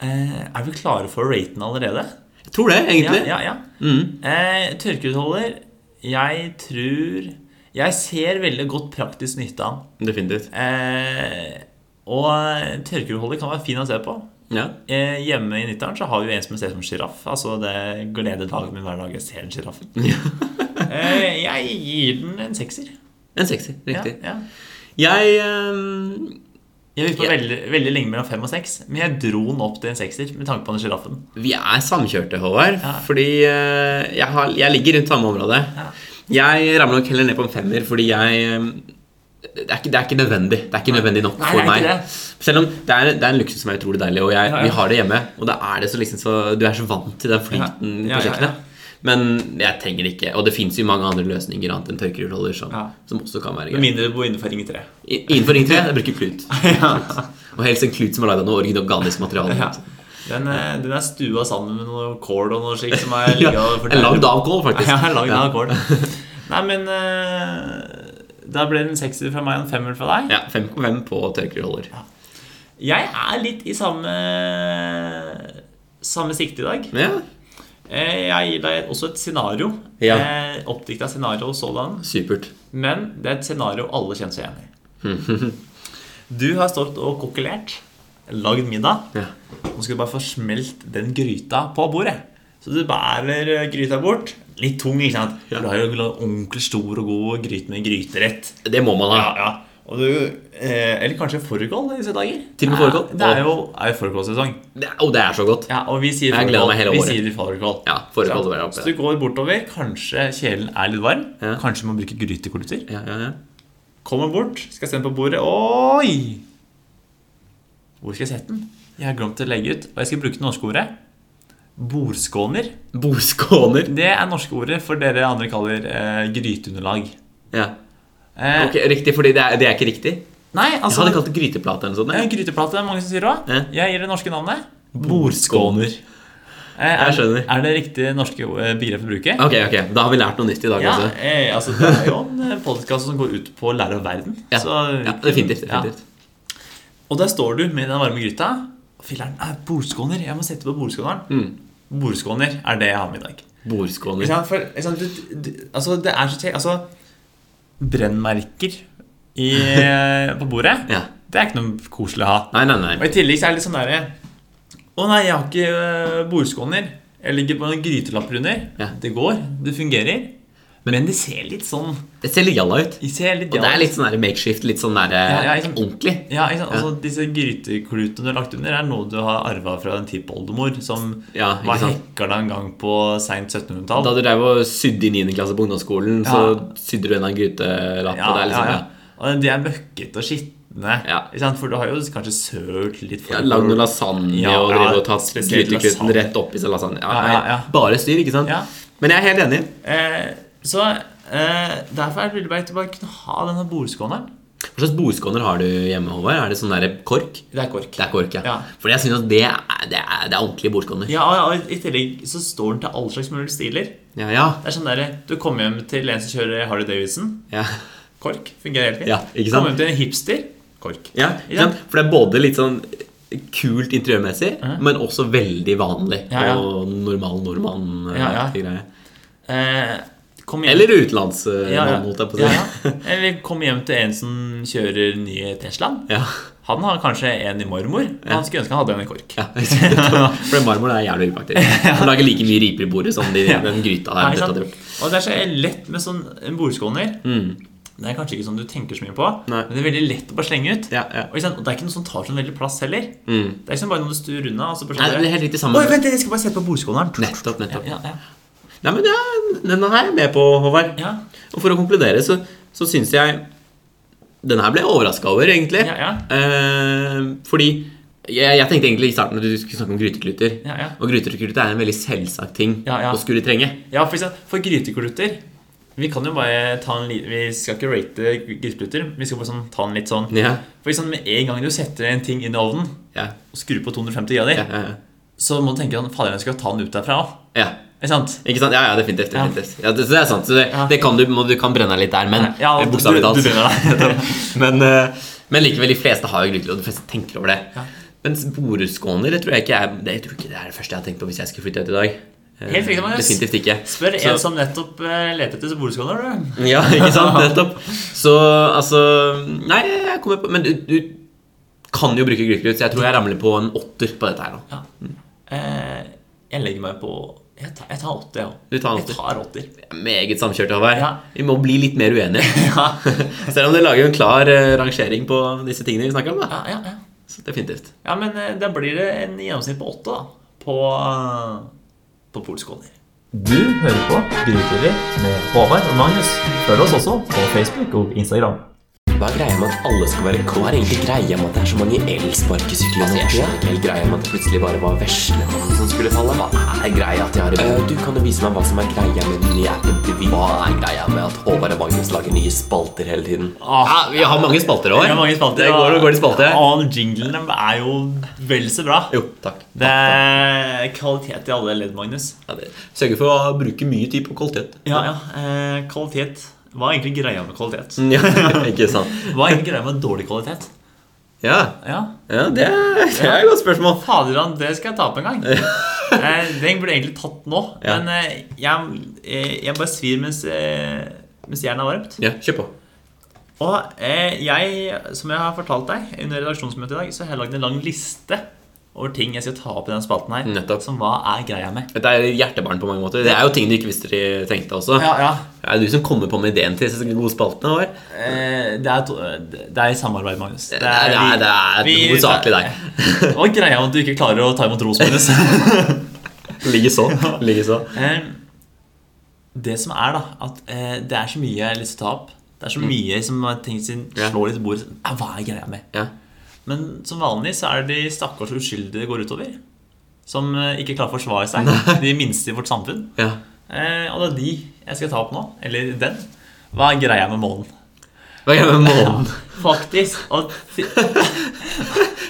[SPEAKER 2] Eh, er vi klare for raten allerede?
[SPEAKER 1] *laughs* Jeg tror det,
[SPEAKER 2] Ja,
[SPEAKER 1] egentlig.
[SPEAKER 2] ja, ja.
[SPEAKER 1] Mm.
[SPEAKER 2] Eh, tørkerullholder Jeg tror Jeg ser veldig godt praktisk nytte av den.
[SPEAKER 1] Definitivt.
[SPEAKER 2] Eh, og tørkerullholder kan være fin å se på.
[SPEAKER 1] Ja. *laughs*
[SPEAKER 2] Eh, hjemme i Nitteren så har vi en som ser ut som sjiraff. Altså, det gleder dagen min hver dag jeg ser den
[SPEAKER 1] *laughs*
[SPEAKER 2] sjiraffen. eh, jeg gir den en sekser.
[SPEAKER 1] En sekser. Riktig.
[SPEAKER 2] Ja, ja.
[SPEAKER 1] Jeg eh,
[SPEAKER 2] Jeg gikk på
[SPEAKER 1] Ja.
[SPEAKER 2] veldig, veldig lenge mellom fem og seks, men jeg dro den opp til en sekser med tanke på den sjiraffen.
[SPEAKER 1] Vi er samkjørte, Håvard.
[SPEAKER 2] Ja.
[SPEAKER 1] Fordi eh, jeg, har, jeg ligger rundt samme område. Jeg ramler nok heller ned på en femmer fordi jeg eh, det er, ikke, det er ikke nødvendig. Det er ikke nødvendig nok
[SPEAKER 2] Nei, det
[SPEAKER 1] for
[SPEAKER 2] er
[SPEAKER 1] meg.
[SPEAKER 2] ikke det.
[SPEAKER 1] Selv om det er, det er en luksus som er utrolig deilig, og jeg,
[SPEAKER 2] Ja, ja.
[SPEAKER 1] vi har det hjemme. Og da er det så liksom så, du er så vant til den flyten på
[SPEAKER 2] Ja, ja, ja.
[SPEAKER 1] kjøkkenet. Men jeg trenger det ikke. Og det fins jo mange andre løsninger annet enn tørkerullholder som,
[SPEAKER 2] Ja.
[SPEAKER 1] som også kan være greit.
[SPEAKER 2] Med mindre du bor innenfor Ring *laughs* 3.
[SPEAKER 1] I- Innenfor Ring 3 jeg bruker
[SPEAKER 2] *laughs*
[SPEAKER 1] klut. Og helst en klut som er lagd av noe organisk materiale.
[SPEAKER 2] Ja. Den, eh, den er stua sammen med noe kål og noe slikt som
[SPEAKER 1] *laughs*
[SPEAKER 2] er ligget og
[SPEAKER 1] En lagd av kål, faktisk.
[SPEAKER 2] *laughs* Ja, lagd
[SPEAKER 1] Ja.
[SPEAKER 2] av *laughs* kål. Nei, men eh, Da ble det en sekser fra meg og en femmer fra deg.
[SPEAKER 1] Ja, 5,5 på tørkerullholder.
[SPEAKER 2] Jeg er litt i samme Samme sikte i dag.
[SPEAKER 1] Ja,
[SPEAKER 2] Eh, Jeg gir deg også et scenario.
[SPEAKER 1] Ja.
[SPEAKER 2] Eh, Oppdikta scenario og sådan.
[SPEAKER 1] supert.
[SPEAKER 2] Men det er et scenario alle kjenner seg igjen i.
[SPEAKER 1] *laughs*
[SPEAKER 2] Du har stått og kokkelert, lagd middag.
[SPEAKER 1] Ja.
[SPEAKER 2] Nå skal du bare få smelt den gryta på bordet. Så du bærer eh, gryta bort. Litt tung, ikke sant?
[SPEAKER 1] Ja.
[SPEAKER 2] Du har jo onkel stor og god gryte med gryterett.
[SPEAKER 1] Det må man ha.
[SPEAKER 2] Ja, ja. Og du, eh, eller kanskje fårikål i disse dager?
[SPEAKER 1] Til og med fårikål.
[SPEAKER 2] Ja, Det er jo, er jo fårikålsesong.
[SPEAKER 1] Det, er- og det er så godt.
[SPEAKER 2] Ja, og vi sier
[SPEAKER 1] Jeg gleder meg hele
[SPEAKER 2] vi
[SPEAKER 1] året.
[SPEAKER 2] sier fårikål.
[SPEAKER 1] Ja, fårikål,
[SPEAKER 2] Sant?
[SPEAKER 1] det var oppe.
[SPEAKER 2] Så du går bortover, kanskje kjelen er litt varm.
[SPEAKER 1] Ja.
[SPEAKER 2] Kanskje man bruker grytekolutter.
[SPEAKER 1] Ja, ja, ja.
[SPEAKER 2] Kommer bort, skal sende på bordet. Oi! Hvor skal jeg sette den? Jeg har glemt å legge ut. Og jeg skal bruke det norske ordet. Bordskåner.
[SPEAKER 1] Boskåner.
[SPEAKER 2] Det er norske ordet for dere andre kaller eh, gryteunderlag.
[SPEAKER 1] Ja.
[SPEAKER 2] Eh,
[SPEAKER 1] Ok, Riktig, fordi det er, det er ikke riktig?
[SPEAKER 2] Nei,
[SPEAKER 1] Jeg
[SPEAKER 2] altså
[SPEAKER 1] hadde kalt det gryteplate eller noe
[SPEAKER 2] eh,
[SPEAKER 1] sånt.
[SPEAKER 2] Gryteplate er det mange som sier òg.
[SPEAKER 1] Ja.
[SPEAKER 2] Jeg gir det norske navnet. Bordskåner. Eh, er,
[SPEAKER 1] Jeg skjønner.
[SPEAKER 2] er det riktig norske eh, begrep å bruke?
[SPEAKER 1] Ok, ok, Da har vi lært noe nytt i dag
[SPEAKER 2] Ja,
[SPEAKER 1] også.
[SPEAKER 2] eh, altså Det er jo en podkast som går ut på å lære om verden.
[SPEAKER 1] Ja,
[SPEAKER 2] så-
[SPEAKER 1] ja definitivt. definitivt.
[SPEAKER 2] Ja. Og der står du med den varme gryta. Filler'n, eh, bordskåner! Jeg må sette på bordskåneren. Bordskåner er det jeg har med i dag.
[SPEAKER 1] Bordskåner.
[SPEAKER 2] Mm. Ikke sant? For, ikke sant? Du, du, altså, det er så te- Altså, brennmerker *laughs* i, eh, på bordet,
[SPEAKER 1] Ja.
[SPEAKER 2] det er ikke noe koselig å ha.
[SPEAKER 1] Nei, nei, nei.
[SPEAKER 2] Og i tillegg så er det litt sånn derre Å nei, jeg har ikke øh, bordskåner. Jeg ligger på en grytelapp under.
[SPEAKER 1] Ja.
[SPEAKER 2] Det går. Det fungerer. Men det ser litt sånn
[SPEAKER 1] Det ser litt jalla ut.
[SPEAKER 2] Det ser litt
[SPEAKER 1] Og det
[SPEAKER 2] galt.
[SPEAKER 1] er litt sånn der makeshift, litt sånn der,
[SPEAKER 2] ja, ikke sant.
[SPEAKER 1] ordentlig.
[SPEAKER 2] Ja, ikke sant? Altså, Disse gryteklutene du har lagt under, er noe du har arva fra en tippoldemor som
[SPEAKER 1] Ja, ikke
[SPEAKER 2] var
[SPEAKER 1] sant.
[SPEAKER 2] hekla en gang på seint
[SPEAKER 1] Da
[SPEAKER 2] 1700-tall.
[SPEAKER 1] du drev og sydde i 9. klasse på ungdomsskolen,
[SPEAKER 2] Ja.
[SPEAKER 1] så sydde du en av en grytelapp.
[SPEAKER 2] Ja,
[SPEAKER 1] og det er liksom,
[SPEAKER 2] ja,
[SPEAKER 1] ja,
[SPEAKER 2] ja. Og de er møkkete og skitne.
[SPEAKER 1] Ja.
[SPEAKER 2] Ikke sant? For du har jo kanskje sølt litt for
[SPEAKER 1] Ja, Lagd noe lasagne
[SPEAKER 2] Ja,
[SPEAKER 1] og
[SPEAKER 2] ja,
[SPEAKER 1] drevet og tatt
[SPEAKER 2] spesielt
[SPEAKER 1] grytekluten
[SPEAKER 2] lasagne.
[SPEAKER 1] rett oppi seg lasagne. Ja,
[SPEAKER 2] Ja, ja,
[SPEAKER 1] nei,
[SPEAKER 2] ja.
[SPEAKER 1] Bare styr, ikke sant?
[SPEAKER 2] Ja.
[SPEAKER 1] Men jeg er helt enig.
[SPEAKER 2] Eh, så eh, derfor er det veldig greit å bare kunne ha denne bordskåneren.
[SPEAKER 1] Hva slags bordskåner har du hjemme, Håvard? Er det sånn der kork?
[SPEAKER 2] Det er kork.
[SPEAKER 1] Det er kork, ja.
[SPEAKER 2] Ja.
[SPEAKER 1] Fordi jeg synes at det er, det er, det er ordentlig bordskåner.
[SPEAKER 2] Ja, og- og I tillegg så står den til alle slags mulige stiler.
[SPEAKER 1] Ja, ja.
[SPEAKER 2] Det er sånn der, Du kommer hjem til en som kjører Harley Davidson.
[SPEAKER 1] ja.
[SPEAKER 2] Kork. Fungerer helt fint.
[SPEAKER 1] Ja, ikke sant?
[SPEAKER 2] Kommer hjem til en hipster. Kork.
[SPEAKER 1] ja, ikke sant? For det er både litt sånn kult interiørmessig, men også veldig vanlig
[SPEAKER 2] Ja, ja.
[SPEAKER 1] og normal nordmann.
[SPEAKER 2] Ja, ja.
[SPEAKER 1] aktig greie.
[SPEAKER 2] Eh, kom hjem-
[SPEAKER 1] Eller utenlandsmann,
[SPEAKER 2] ja, ja.
[SPEAKER 1] holdt jeg på å
[SPEAKER 2] ja,
[SPEAKER 1] si.
[SPEAKER 2] ja. Eller kom hjem til en som kjører nye Teslaen.
[SPEAKER 1] *laughs* Ja.
[SPEAKER 2] Han har kanskje en i mormor. og Han skulle ønske han hadde en i KORK.
[SPEAKER 1] Ja, *laughs* For marmor er jævlig upraktisk. Den lager like mye riper i bordet som de, den gryta
[SPEAKER 2] Nei,
[SPEAKER 1] der.
[SPEAKER 2] ikke sant?
[SPEAKER 1] dette hadde gjort.
[SPEAKER 2] Og det er så lett med sånn bordskåner. Det er kanskje ikke sånn du tenker så mye på,
[SPEAKER 1] Mm. Nei.
[SPEAKER 2] men det er veldig lett å bare slenge ut.
[SPEAKER 1] Ja, ja.
[SPEAKER 2] Og, ikke sant? og det er ikke noe som tar sånn veldig plass heller. Det er ikke sånn bare noe du sturer unna. Og så bare
[SPEAKER 1] Nei,
[SPEAKER 2] sånn
[SPEAKER 1] det er helt riktig samme.
[SPEAKER 2] Oi, vent, jeg skal bare sette på bordskåneren.
[SPEAKER 1] Nettopp, nettopp.
[SPEAKER 2] Ja, ja.
[SPEAKER 1] Nei, men ja, denne her er jeg med på, Håvard.
[SPEAKER 2] Ja.
[SPEAKER 1] Og for å konkludere, så, så syns jeg Denne her ble jeg overraska over, egentlig.
[SPEAKER 2] Ja, ja.
[SPEAKER 1] Eh, fordi jeg, jeg tenkte egentlig i starten at du skulle snakke om gryteklutter.
[SPEAKER 2] Ja, ja.
[SPEAKER 1] Og gryteklutter er en veldig selvsagt ting
[SPEAKER 2] Ja, ja.
[SPEAKER 1] å skulle trenge.
[SPEAKER 2] Ja, for, eksempel, for gryteklutter Vi kan jo bare ta en li- Vi skal ikke rate gryteklutter. Vi skal bare sånn, ta den litt sånn
[SPEAKER 1] Ja,
[SPEAKER 2] For eksempel, Med en gang du setter en ting inn i ovnen
[SPEAKER 1] ja,
[SPEAKER 2] og skrur på 250 grader,
[SPEAKER 1] ja, ja,
[SPEAKER 2] så må du tenke sånn Fader, jeg skal ta den ut derfra òg.
[SPEAKER 1] ja.
[SPEAKER 2] Ikke sant?
[SPEAKER 1] Ikke sant? Ja, ja, definitivt.
[SPEAKER 2] Ja.
[SPEAKER 1] definitivt. Ja, det, så det er sant. Så det,
[SPEAKER 2] Ja.
[SPEAKER 1] det kan du, må, du kan brenne deg litt der, men
[SPEAKER 2] Ja,
[SPEAKER 1] eh,
[SPEAKER 2] du-
[SPEAKER 1] bokstavelig
[SPEAKER 2] du-
[SPEAKER 1] talt.
[SPEAKER 2] du
[SPEAKER 1] *laughs*
[SPEAKER 2] *laughs* brenner deg.
[SPEAKER 1] men, eh, men likevel, de fleste har jo grytelyd, og de fleste tenker over det.
[SPEAKER 2] Ja.
[SPEAKER 1] Mens boreskåner det tror jeg ikke er det, jeg tror ikke det er det første jeg har tenkt på hvis jeg skulle flytte ut i dag. Eh,
[SPEAKER 2] Helt riktig, Magnus.
[SPEAKER 1] Definitivt ikke.
[SPEAKER 2] Spør
[SPEAKER 1] Så-
[SPEAKER 2] en sånn. som nettopp eh, leter etter bordskåner, du.
[SPEAKER 1] *laughs* Ja, ikke
[SPEAKER 2] *laughs*
[SPEAKER 1] sant? Nettopp. Så altså Nei, jeg kommer på Men du, du kan jo bruke grytelyd, så jeg tror jeg ramler på en åtter på dette her nå.
[SPEAKER 2] Ja. Eh, jeg legger meg på Jeg tar, jeg tar åtte, jeg òg.
[SPEAKER 1] Du tar en
[SPEAKER 2] Jeg
[SPEAKER 1] åtter.
[SPEAKER 2] tar åtter. *laughs*
[SPEAKER 1] Meget samkjørt, Håvard.
[SPEAKER 2] Ja.
[SPEAKER 1] Vi må bli litt mer uenige.
[SPEAKER 2] *laughs* Ja.
[SPEAKER 1] *laughs* Selv om det lager jo en klar eh, rangering på disse tingene vi snakker om. da
[SPEAKER 2] Ja, ja, ja.
[SPEAKER 1] Så definitivt.
[SPEAKER 2] ja, men eh, da blir det en gjennomsnitt på åtte, da. På, eh, på polskåner.
[SPEAKER 3] Du hører på Grytidlig med Håvard og Magnus. Følg oss også på Facebook og Instagram.
[SPEAKER 5] Hva er greia med at alle skal være kåt? Hva er egentlig greia med at det er så mange elsparkesykler? Altså, jeg skjønner ikke helt greia med at det plutselig bare var veslemannen som skulle falle. Hva er greia til Harry? Øh, du kan jo vise meg hva som er greia med den nye appen til Vy. Hva er greia med at Håvard og Magnus lager nye spalter hele tiden?
[SPEAKER 1] Ja, vi har mange spalter òg.
[SPEAKER 2] Det er mange spalter.
[SPEAKER 1] Ah, Det går og går i spalte.
[SPEAKER 2] Og jinglene er jo vel så bra.
[SPEAKER 1] Jo, takk.
[SPEAKER 2] Det er kvalitet i alle ledd, Magnus.
[SPEAKER 1] Ja, det- Sørger for å bruke mye tid på kvalitet.
[SPEAKER 2] Ja, ja. Eh, kvalitet. Hva er egentlig greia med kvalitet?
[SPEAKER 1] *laughs* Ja, ikke sant.
[SPEAKER 2] Hva er egentlig greia med dårlig kvalitet?
[SPEAKER 1] Mm. Ja,
[SPEAKER 2] Ja,
[SPEAKER 1] ja det, er, det er et godt spørsmål.
[SPEAKER 2] Fader, han, det skal jeg ta opp en gang. *laughs* Eh, Den burde egentlig tatt nå.
[SPEAKER 1] Ja.
[SPEAKER 2] Men eh, jeg, eh, jeg bare svir mens, eh, mens jernet er varmt.
[SPEAKER 1] Ja, kjør på.
[SPEAKER 2] Og eh, jeg, som jeg har fortalt deg under redaksjonsmøtet i dag, så har jeg lagd en lang liste over ting jeg skal ta opp i den spalten her.
[SPEAKER 1] Nettopp.
[SPEAKER 2] Som hva er greia med.
[SPEAKER 1] Dette er hjertebarn på mange måter. Det er jo ting du ikke visste de tenkte også.
[SPEAKER 2] Ja, ja.
[SPEAKER 1] Det er du som kommer på med ideen til disse gode spaltene våre.
[SPEAKER 2] Eh, Det er, to, det er i samarbeid, Magnus.
[SPEAKER 1] Det er, det er, det er
[SPEAKER 2] vi-
[SPEAKER 1] hovedsakelig deg.
[SPEAKER 2] *laughs* Hva er greia med at du ikke klarer å ta imot ros, Magnus?
[SPEAKER 1] Likeså. Likeså.
[SPEAKER 2] Eh, Det som er, da, at eh, det er så mye jeg har lyst til å ta opp. Det er så mye som jeg tenker sin
[SPEAKER 1] Mm. Ja.
[SPEAKER 2] slår litt i bordet. sånn, «Ah, Hva er greia med?
[SPEAKER 1] Ja.
[SPEAKER 2] Men som vanlig så er det de stakkars uskyldige det går utover. Som eh, ikke klarer å forsvare seg. De minste i vårt samfunn.
[SPEAKER 1] Ja.
[SPEAKER 2] Eh, og det er de jeg skal ta opp nå. Eller den. Hva er greia med månen?
[SPEAKER 1] Hva er det med månen?
[SPEAKER 2] Faktisk. Og,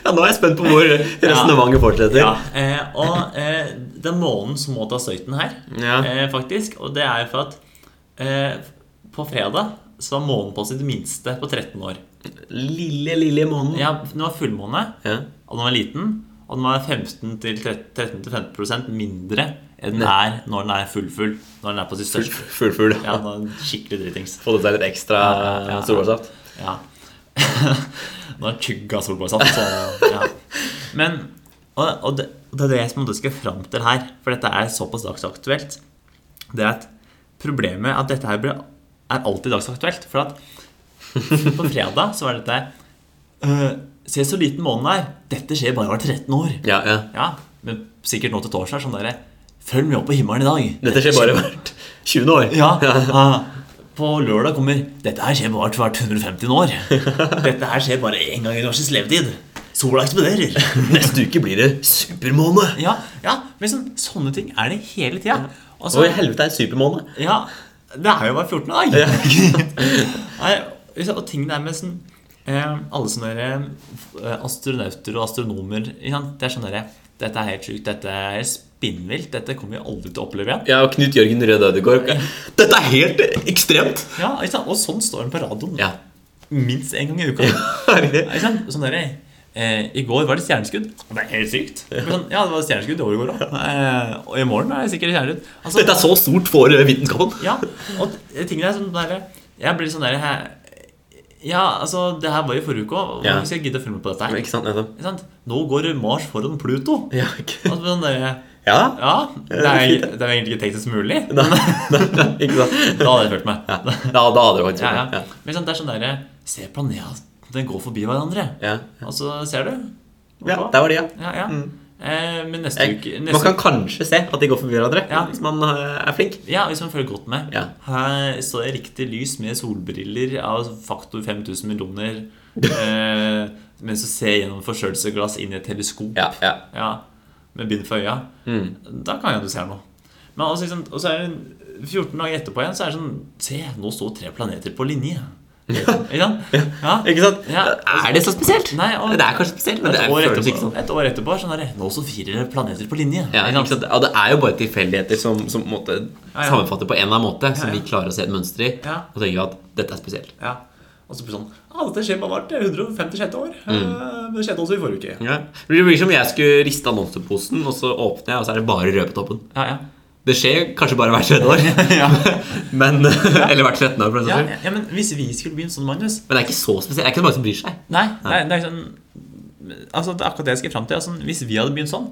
[SPEAKER 1] Ja, nå er jeg spent på hvor resonnementet fortsetter.
[SPEAKER 2] ja, eh, og eh, det er månen som må ta støyten her,
[SPEAKER 1] Ja.
[SPEAKER 2] eh, faktisk. Og det er jo for at eh, på fredag så var månen på sitt minste på 13 år.
[SPEAKER 1] Lille, lille månen.
[SPEAKER 2] Ja, den var fullmåne,
[SPEAKER 1] Ja.
[SPEAKER 2] og den var liten, og den var 13-15 mindre enn den er når den er full-full. Når den er på sitt største.
[SPEAKER 1] Full, full.
[SPEAKER 2] Ja, den var skikkelig dritings.
[SPEAKER 1] Få i seg litt ekstra
[SPEAKER 2] ja, ja.
[SPEAKER 1] solbærsaft.
[SPEAKER 2] Ja. *laughs* Nå er tygga solbærsaft, så ja. Men og, og, det, og det er det jeg på en måte skal fram til her, for dette er såpass dagsaktuelt. Det er at problemet er at dette her blir, er alltid dagsaktuelt. For at *laughs* på fredag så var dette «Øh, Se så liten månen er! Dette skjer bare hvert 13 år.
[SPEAKER 1] Ja, ja.
[SPEAKER 2] Ja, Men sikkert nå til torsdag. Sånn dere Følg med opp på himmelen i dag.
[SPEAKER 1] Dette skjer bare hvert 20. år.
[SPEAKER 2] Ja, ah, På lørdag kommer 'Dette her skjer bare hvert 150 år'. 'Dette her skjer bare én gang i norsk levetid'. Sola eksploderer.
[SPEAKER 1] Neste uke blir det supermåne.
[SPEAKER 2] Ja, ja, men sånn, sånne ting er det hele tida. Og
[SPEAKER 1] Å, i
[SPEAKER 2] så-
[SPEAKER 1] helvete er det *laughs* supermåne?
[SPEAKER 2] ja, det er jo bare 14 dag. Nei, liksom, og ting der med sånn eh, Alle sånne der, eh, astronauter og astronomer ikke sant? Det er sånn derre Dette er helt sjukt. Dette er spinnvilt. Dette kommer vi aldri til å oppleve igjen.
[SPEAKER 1] Ja, og Knut Jørgen Rød Ødegård. Dette er helt ekstremt!
[SPEAKER 2] Ja, ikke sant? Og sånn står den på radioen
[SPEAKER 1] Ja.
[SPEAKER 2] minst én gang i uka.
[SPEAKER 1] Herregud.
[SPEAKER 2] Ikke sant? Sånn der, eh, I går var det stjerneskudd. Og Det er helt sykt. Men Sånn, ja, det var stjerneskudd i overgår òg. Eh, og i morgen er det sikkert stjerneskudd. Altså,
[SPEAKER 1] Dette er så stort for eh, vitenskapen.
[SPEAKER 2] ja, og det- tingene er sånn der Jeg blir sånn der hæ, Ja, altså, det her var i forrige uke òg.
[SPEAKER 1] Ja.
[SPEAKER 2] Hvorfor skal jeg gidde å følge med på dette? her?
[SPEAKER 1] Ikke sant, nettopp.
[SPEAKER 2] Ikke sant? Nå går Mars foran Pluto.
[SPEAKER 1] Ja, ikke,
[SPEAKER 2] Altså, sånn der,
[SPEAKER 1] ja.
[SPEAKER 2] ja, det er, det er egentlig ikke teknisk mulig.
[SPEAKER 1] Nei, nei, ikke sant.
[SPEAKER 2] Da hadde jeg følt meg.
[SPEAKER 1] Ja, da da hadde det faktisk
[SPEAKER 2] Ja,
[SPEAKER 1] vært
[SPEAKER 2] ja.
[SPEAKER 1] ja.
[SPEAKER 2] Men sånn, det er sånn derre Se planetene gå forbi hverandre.
[SPEAKER 1] Ja.
[SPEAKER 2] Og så ser du.
[SPEAKER 1] ja, der var de, ja.
[SPEAKER 2] Ja, ja. Eh, men neste uke
[SPEAKER 1] Mm. Jeg, man
[SPEAKER 2] neste,
[SPEAKER 1] kan kanskje se at de går forbi hverandre
[SPEAKER 2] Ja.
[SPEAKER 1] hvis man eh, er flink.
[SPEAKER 2] Ja, hvis man følger godt med.
[SPEAKER 1] Ja.
[SPEAKER 2] Her står det riktig lys med solbriller av faktor 5000 millioner. Eh, mens du ser gjennom forstørrelsesglass inn i et teleskop.
[SPEAKER 1] Ja, Mm. ja.
[SPEAKER 2] Ja, med bind for øya. Da kan jeg jo se noe. Men også, liksom, og så er det 14 dager etterpå igjen, så er det sånn Se, nå står tre planeter på linje.
[SPEAKER 1] *laughs*
[SPEAKER 2] Ikke sant? Ja.
[SPEAKER 1] Ikke sant?
[SPEAKER 2] Ja.
[SPEAKER 1] Er det så spesielt?
[SPEAKER 2] Nei, og-
[SPEAKER 1] det er kanskje spesielt, men
[SPEAKER 2] Et
[SPEAKER 1] det
[SPEAKER 2] år,
[SPEAKER 1] føles ikke
[SPEAKER 2] etterpå,
[SPEAKER 1] sånn.
[SPEAKER 2] et år etterpå sånn er det Nå står fire planeter på linje.
[SPEAKER 1] Ja,
[SPEAKER 2] Ikke
[SPEAKER 1] ikke
[SPEAKER 2] sant?
[SPEAKER 1] sant? Og det er jo bare tilfeldigheter som, som på en måte
[SPEAKER 2] ja.
[SPEAKER 1] sammenfatter på en eller annen måte, som
[SPEAKER 2] Ja, ja.
[SPEAKER 1] vi klarer å se et mønster i,
[SPEAKER 2] Ja.
[SPEAKER 1] og tenker at dette er spesielt.
[SPEAKER 2] Ja. Og så blir det sånn Ja, dette skjer bare hvert 156. år. Eh, Men det skjedde også i forrige uke.
[SPEAKER 1] Ja. Det blir som om jeg skulle riste annonseposen, og så åpner jeg, og så er det bare rød på toppen.
[SPEAKER 2] Ja, ja.
[SPEAKER 1] Det skjer kanskje bare hvert *laughs* tredje år,
[SPEAKER 2] ja.
[SPEAKER 1] men, eh, eller hvert 13. år. for den
[SPEAKER 2] ja,
[SPEAKER 1] saks skyld.
[SPEAKER 2] ja, men hvis vi skulle begynt sånn, Magnus
[SPEAKER 1] Men det er ikke så spesielt. Det er ikke så mange som bryr seg. *laughs*
[SPEAKER 2] Nei, det er, det er sånn Altså, det er akkurat det jeg skal frem til. Altså, hvis vi hadde begynt sånn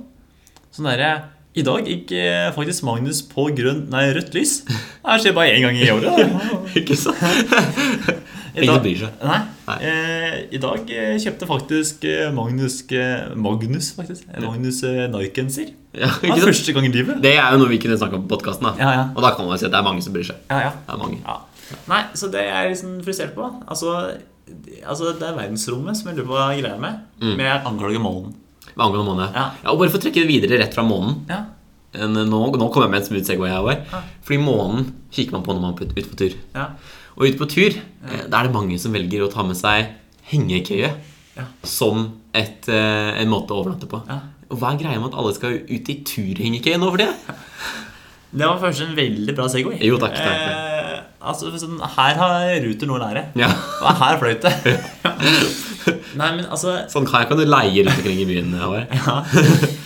[SPEAKER 2] Sånn derre I dag gikk eh, faktisk Magnus på grønn, nei, rødt lys. Det skjer bare én gang i året. da.
[SPEAKER 1] Ikke sant? *laughs*
[SPEAKER 2] I dag-
[SPEAKER 1] Ingen bryr seg.
[SPEAKER 2] Nei.
[SPEAKER 1] Nei.
[SPEAKER 2] Eh, I dag eh, kjøpte faktisk eh, Magnus eh, Magnus, faktisk. eh, Magnus eh, Nike-genser.
[SPEAKER 1] Ja,
[SPEAKER 2] Det
[SPEAKER 1] ikke
[SPEAKER 2] er
[SPEAKER 1] sant?
[SPEAKER 2] første gang i livet.
[SPEAKER 1] Det er jo noe vi kunne snakke om på podkasten.
[SPEAKER 2] Ja, ja.
[SPEAKER 1] Og da kan man jo si at det er mange som bryr seg.
[SPEAKER 2] Ja, ja.
[SPEAKER 1] Det er mange.
[SPEAKER 2] ja. Nei, så det er jeg liksom frustrert på. Altså, altså, det er verdensrommet som jeg lurer på hva jeg greier med.
[SPEAKER 1] Mm.
[SPEAKER 2] Men jeg anklager månen.
[SPEAKER 1] Med angående måned.
[SPEAKER 2] Ja.
[SPEAKER 1] Ja, og bare for å trekke det videre rett fra månen
[SPEAKER 2] Ja.
[SPEAKER 1] en- eh, Nå, nå kommer jeg med en smooth segway her. Var. Fordi månen kikker man på når man er ute på tur.
[SPEAKER 2] Ja.
[SPEAKER 1] Og ute på tur eh, da er det mange som velger å ta med seg hengekøye
[SPEAKER 2] Ja.
[SPEAKER 1] som et, eh, en måte å overnatte på.
[SPEAKER 2] Ja.
[SPEAKER 1] Og hva er greia med at alle skal ut i turhengekøye nå for det?
[SPEAKER 2] Det var først en veldig bra segway.
[SPEAKER 1] Jo, takk, takk.
[SPEAKER 2] Eh, altså, sånn, her har Ruter noe å lære.
[SPEAKER 1] Ja.
[SPEAKER 2] *laughs* Og her fløyt
[SPEAKER 1] *laughs*
[SPEAKER 2] det. Nei, men altså
[SPEAKER 1] Sånn kan jeg kan du leie rundt omkring i byen. Håvard.
[SPEAKER 2] ja.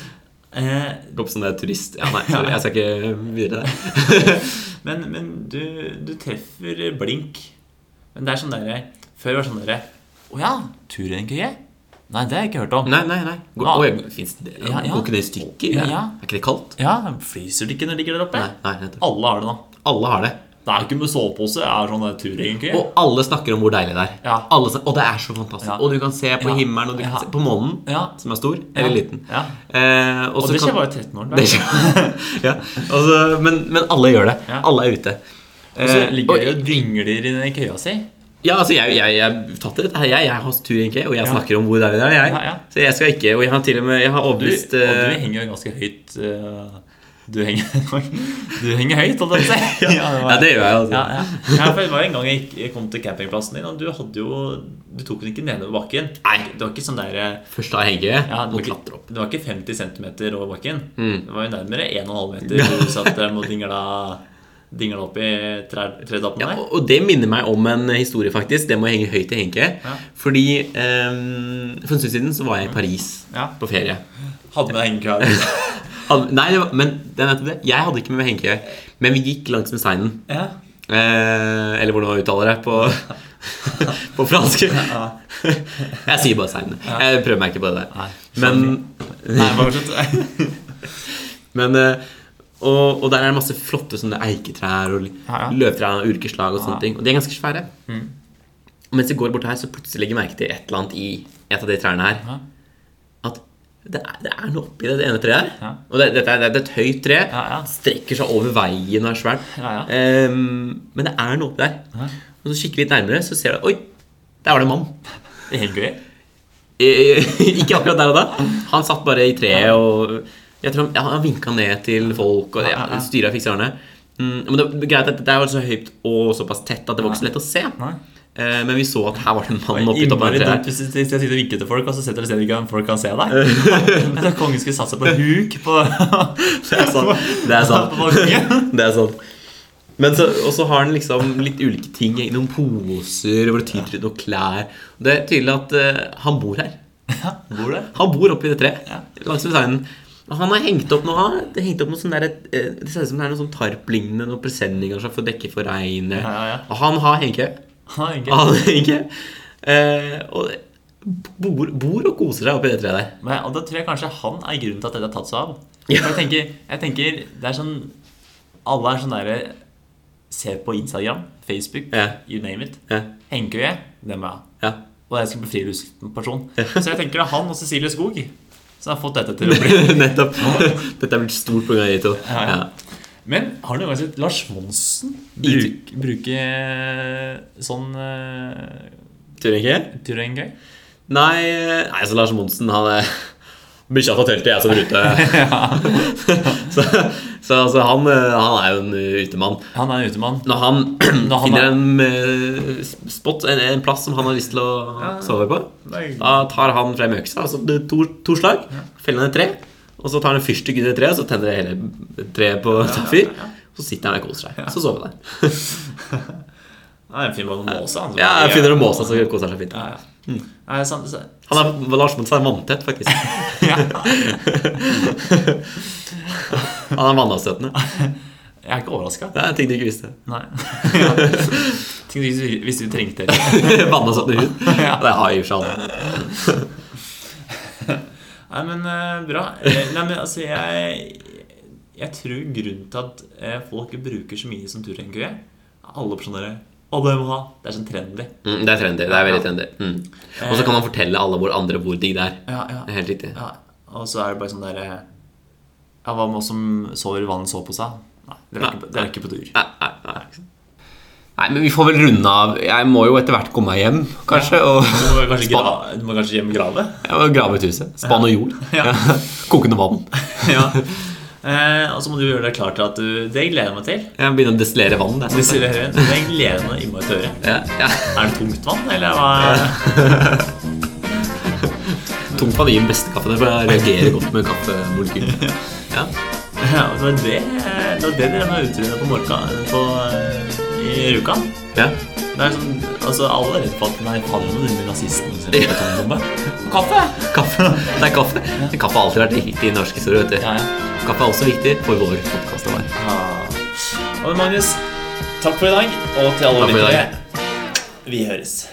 [SPEAKER 2] eh,
[SPEAKER 1] Gå opp som det er turist Ja, nei, sorry, jeg skal ikke videre der.
[SPEAKER 2] Men, men du, du treffer blink. Men det er sånn derre Før var det sånn derre Å ja, turhengekøye? Nei, det har jeg ikke hørt om.
[SPEAKER 1] Nei, nei, nei. Går,
[SPEAKER 2] Ja.
[SPEAKER 1] Oi, finnes det,
[SPEAKER 2] Ja, ja.
[SPEAKER 1] Går ikke det i stykker?
[SPEAKER 2] Ja, ja.
[SPEAKER 1] Er ikke det kaldt?
[SPEAKER 2] Ja, Fryser det ikke når det ligger der oppe?
[SPEAKER 1] Nei, nei, nettopp.
[SPEAKER 2] Alle har det nå.
[SPEAKER 1] Alle har det.
[SPEAKER 2] Det er ikke med sovepose. Det er sånn der turhengekøye.
[SPEAKER 1] Og alle snakker om hvor deilig det er.
[SPEAKER 2] Ja.
[SPEAKER 1] Alle snakker, og det er så fantastisk.
[SPEAKER 2] Ja.
[SPEAKER 1] Og du kan se på
[SPEAKER 2] Ja.
[SPEAKER 1] himmelen, og du kan
[SPEAKER 2] Ja.
[SPEAKER 1] se på månen,
[SPEAKER 2] Ja.
[SPEAKER 1] som er stor eller
[SPEAKER 2] Ja.
[SPEAKER 1] liten.
[SPEAKER 2] Ja.
[SPEAKER 1] Eh,
[SPEAKER 2] Og
[SPEAKER 1] så
[SPEAKER 2] det skjer
[SPEAKER 1] kan-
[SPEAKER 2] bare i 13 år.
[SPEAKER 1] *laughs* Det skjer- ja. og så- men, men alle gjør det.
[SPEAKER 2] Ja.
[SPEAKER 1] Alle er ute.
[SPEAKER 2] Og så
[SPEAKER 1] Eh,
[SPEAKER 2] ligger
[SPEAKER 1] og-
[SPEAKER 2] de og dyngler i den køya si.
[SPEAKER 1] Ja, altså jeg, jeg, jeg tatt det, jeg, jeg har tur egentlig, og jeg
[SPEAKER 2] Ja.
[SPEAKER 1] snakker om hvor deilig det er. Jeg.
[SPEAKER 2] Ja, ja.
[SPEAKER 1] Så jeg skal ikke, og jeg har til og med jeg har
[SPEAKER 2] Du,
[SPEAKER 1] overbevist
[SPEAKER 2] og du
[SPEAKER 1] eh,
[SPEAKER 2] henger jo ganske høyt eh, Du henger, *laughs* du henger høyt, holdt jeg på å si. Ja, det var-
[SPEAKER 1] *laughs* Ja, det gjør jeg. Altså.
[SPEAKER 2] ja, ja. ja, for det var en gang jeg, gikk, jeg kom til campingplassen din, og du hadde jo Du tok den ikke nedover bakken.
[SPEAKER 1] Nei.
[SPEAKER 2] Det var ikke sånn der eh,
[SPEAKER 1] Først da henge,
[SPEAKER 2] ja, det,
[SPEAKER 1] og
[SPEAKER 2] var
[SPEAKER 1] klatre
[SPEAKER 2] ikke,
[SPEAKER 1] opp. Mm.
[SPEAKER 2] det var ikke 50 cm over bakken. Det var jo nærmere 1,5
[SPEAKER 1] *laughs*
[SPEAKER 2] meter du satt der og dingla, dingla opp i trær- tredappen
[SPEAKER 1] Ja,
[SPEAKER 2] der.
[SPEAKER 1] og, og det minner meg om en historie, faktisk. Det må henge høyt i Henke.
[SPEAKER 2] Ja.
[SPEAKER 1] Fordi eh, for en stund siden så var jeg i Paris
[SPEAKER 2] Ja.
[SPEAKER 1] på ferie.
[SPEAKER 2] Hadde med hengekøye.
[SPEAKER 1] Hadde, nei, det var, men det er nettopp det. Jeg hadde ikke med meg hengekøye, men vi gikk langs med seinen.
[SPEAKER 2] Ja.
[SPEAKER 1] Eh, eller hvordan man uttaler det på, på *laughs* fransk. *laughs* jeg sier bare seinen. Jeg prøver meg ikke på det der. Men,
[SPEAKER 2] Nei, bare slutt. *laughs*
[SPEAKER 1] men eh, og, og der er det masse flotte sånne eiketrær og
[SPEAKER 2] Ja, ja.
[SPEAKER 1] løvtrær av ulike slag. Og
[SPEAKER 2] Ja. Mm.
[SPEAKER 1] sånne ting Og de er ganske svære. Og mens jeg går bort her, så plutselig legger jeg merke til et eller annet i et av de trærne her.
[SPEAKER 2] Ja.
[SPEAKER 1] At det er, det er noe oppi det, det ene treet her.
[SPEAKER 2] Ja.
[SPEAKER 1] Og det, dette er, det er et høyt tre.
[SPEAKER 2] Ja, ja.
[SPEAKER 1] Strekker seg over veien og er svært.
[SPEAKER 2] Ja, ja.
[SPEAKER 1] Ehm, men det er noe oppi der.
[SPEAKER 2] Ja.
[SPEAKER 1] Og så kikker jeg litt nærmere, så ser jeg Oi, der var det en mann.
[SPEAKER 2] I hengekøye?
[SPEAKER 1] Eh, *laughs* ikke akkurat der og da. Han satt bare i treet og jeg tror han, ja, han vinka ned til folk og
[SPEAKER 2] Ja, ja,
[SPEAKER 1] ja,
[SPEAKER 2] ja.
[SPEAKER 1] styra fiksa ørene. Mm, men det var greit at det var så høyt og såpass tett at det var ikke så lett å se.
[SPEAKER 2] Nei.
[SPEAKER 1] Eh, men vi så at her var det en mann oppi toppen av et
[SPEAKER 2] Innmari
[SPEAKER 1] tre
[SPEAKER 2] dumt
[SPEAKER 1] her.
[SPEAKER 2] hvis hvis jeg sitter og vinker til folk, og så setter du stedet ikke om folk kan se deg. Men at kongen skulle satse på en huk på *laughs*
[SPEAKER 1] Det er sant. Det er sant.
[SPEAKER 2] på balkongen.
[SPEAKER 1] *laughs* Det er sant. Men så, og så har han liksom litt ulike ting i noen poser hvor det tyter ut noen klær. Det er tydelig at eh, han bor her.
[SPEAKER 2] Bor det?
[SPEAKER 1] Han bor oppi det treet.
[SPEAKER 2] Ja.
[SPEAKER 1] Langs med seinen. Og han har hengt opp noe han har hengt opp noe sånn der, eh, Det ser ut som det er noe sånn tarplignende noe presenning kanskje, for å dekke for regnet.
[SPEAKER 2] Ja, ja, ja.
[SPEAKER 1] Og han har hengekøye.
[SPEAKER 2] Han er egentlig-
[SPEAKER 1] Han har hengekøye. Eh, og bor, bor og koser seg oppi det treet der.
[SPEAKER 2] Men, og da tror jeg kanskje han er grunnen til at dette har tatt seg av.
[SPEAKER 1] Ja.
[SPEAKER 2] For Jeg, tenker, jeg tenker, det er sånn Alle er sånn derre Se på Instagram, Facebook,
[SPEAKER 1] Ja.
[SPEAKER 2] you name it.
[SPEAKER 1] Ja,
[SPEAKER 2] Hengekøye, det må jeg ha.
[SPEAKER 1] ja.
[SPEAKER 2] Og jeg skal bli friluftsperson. Så jeg tenker det er han og Cecilie Skog som har fått dette til å bli
[SPEAKER 1] *laughs* Nettopp. Dette er blitt stort pga. de to.
[SPEAKER 2] Ja, ja.
[SPEAKER 1] Ja.
[SPEAKER 2] Men har du noen gang sett Lars Monsen bruk, bruke sånn uh,
[SPEAKER 1] Tror jeg ikke.
[SPEAKER 2] turengøy?
[SPEAKER 1] Nei, eh, nei, så Lars Monsen, han er Bikkja tar teltet, jeg som rute.
[SPEAKER 2] *laughs*
[SPEAKER 1] *laughs* så så altså, han, eh, han er jo en utemann.
[SPEAKER 2] Han er en utemann.
[SPEAKER 1] Når han, *clears throat*
[SPEAKER 2] Når han
[SPEAKER 1] finner
[SPEAKER 2] er-
[SPEAKER 1] en eh, spot, en, en plass som han har lyst til å sove på,
[SPEAKER 2] Nei.
[SPEAKER 1] da tar han frem øksa, altså det er to, to slag, feller ned et tre, og så tar han en fyrstikk i det treet, og så tenner det hele treet på tar fyr. Så sitter han der og koser seg. Så sover han der.
[SPEAKER 2] Han er en fin mann å måse. han.
[SPEAKER 1] Ja, jeg finner Mm. en måse som koser seg fint.
[SPEAKER 2] Ja, ja. Nei, sant, sant.
[SPEAKER 1] Han er, Lars Monsen er vanntett, faktisk. Han er vannavstøtende.
[SPEAKER 2] Jeg er ikke overraska.
[SPEAKER 1] Det er en ting du ikke visste. *laughs*
[SPEAKER 2] Nei. *laughs* ja. Ting du ikke visste vi trengte. Nei,
[SPEAKER 1] Vannavstøtende hud. Det har jeg i og for seg aldri.
[SPEAKER 2] men eh, bra. Eh, Nei, men altså, jeg Jeg tror grunnen til at eh, folk bruker så mye som turengøye Alle personer Alle må ha. Det er sånn trendy.
[SPEAKER 1] Mm, det er trendy. Det er veldig trendy. Mm. Og så kan han fortelle alle hvor andre hvor digg det er.
[SPEAKER 2] Ja, ja.
[SPEAKER 1] Det er Helt riktig.
[SPEAKER 2] Ja, og så er det bare sånn der eh, Ja, hva med oss som sover i vannet så på seg? Nei, dere er ikke, dere er ikke på tur.
[SPEAKER 1] Nei, nei, nei. nei, men vi får vel runde av. Jeg må jo etter hvert komme meg hjem, kanskje.
[SPEAKER 2] Du
[SPEAKER 1] Og *laughs*
[SPEAKER 2] må kanskje, gra du må kanskje hjem og grave?
[SPEAKER 1] jeg må grave ut huset. Spann og jord.
[SPEAKER 2] *laughs* Ja.
[SPEAKER 1] Kokende vann.
[SPEAKER 2] ja. Eh, og så må du gjøre deg klar til at du Det gleder jeg meg til.
[SPEAKER 1] Jeg begynner å destillere vann. jeg.
[SPEAKER 2] Hvis dere hører, så det gleder jeg meg innmari til å høre.
[SPEAKER 1] Ja, ja.
[SPEAKER 2] Er det tungt vann, eller hva?
[SPEAKER 1] Tungt vann gir den beste kaffen. For jeg reagerer godt med kaffemolekyler. Ja.
[SPEAKER 2] Ja, altså, det var det, det, var det dere var ute med på Morka på, eh, i Rjukan.
[SPEAKER 1] Ja.
[SPEAKER 2] Det er sånn, altså, alle er redd for at nei, faen, nå begynner nazistene å sende atombombe. Kaffe!
[SPEAKER 1] Kaffe. Det er kaffe. Kaffe har alltid vært viktig i norsk historie. vet du.
[SPEAKER 2] Ja, ja.
[SPEAKER 1] Kaffe er også viktig for vår podkast.
[SPEAKER 2] Ah. Og Magnus, takk for i dag, og til alle
[SPEAKER 1] Takk for i
[SPEAKER 2] lyttere. Vi høres.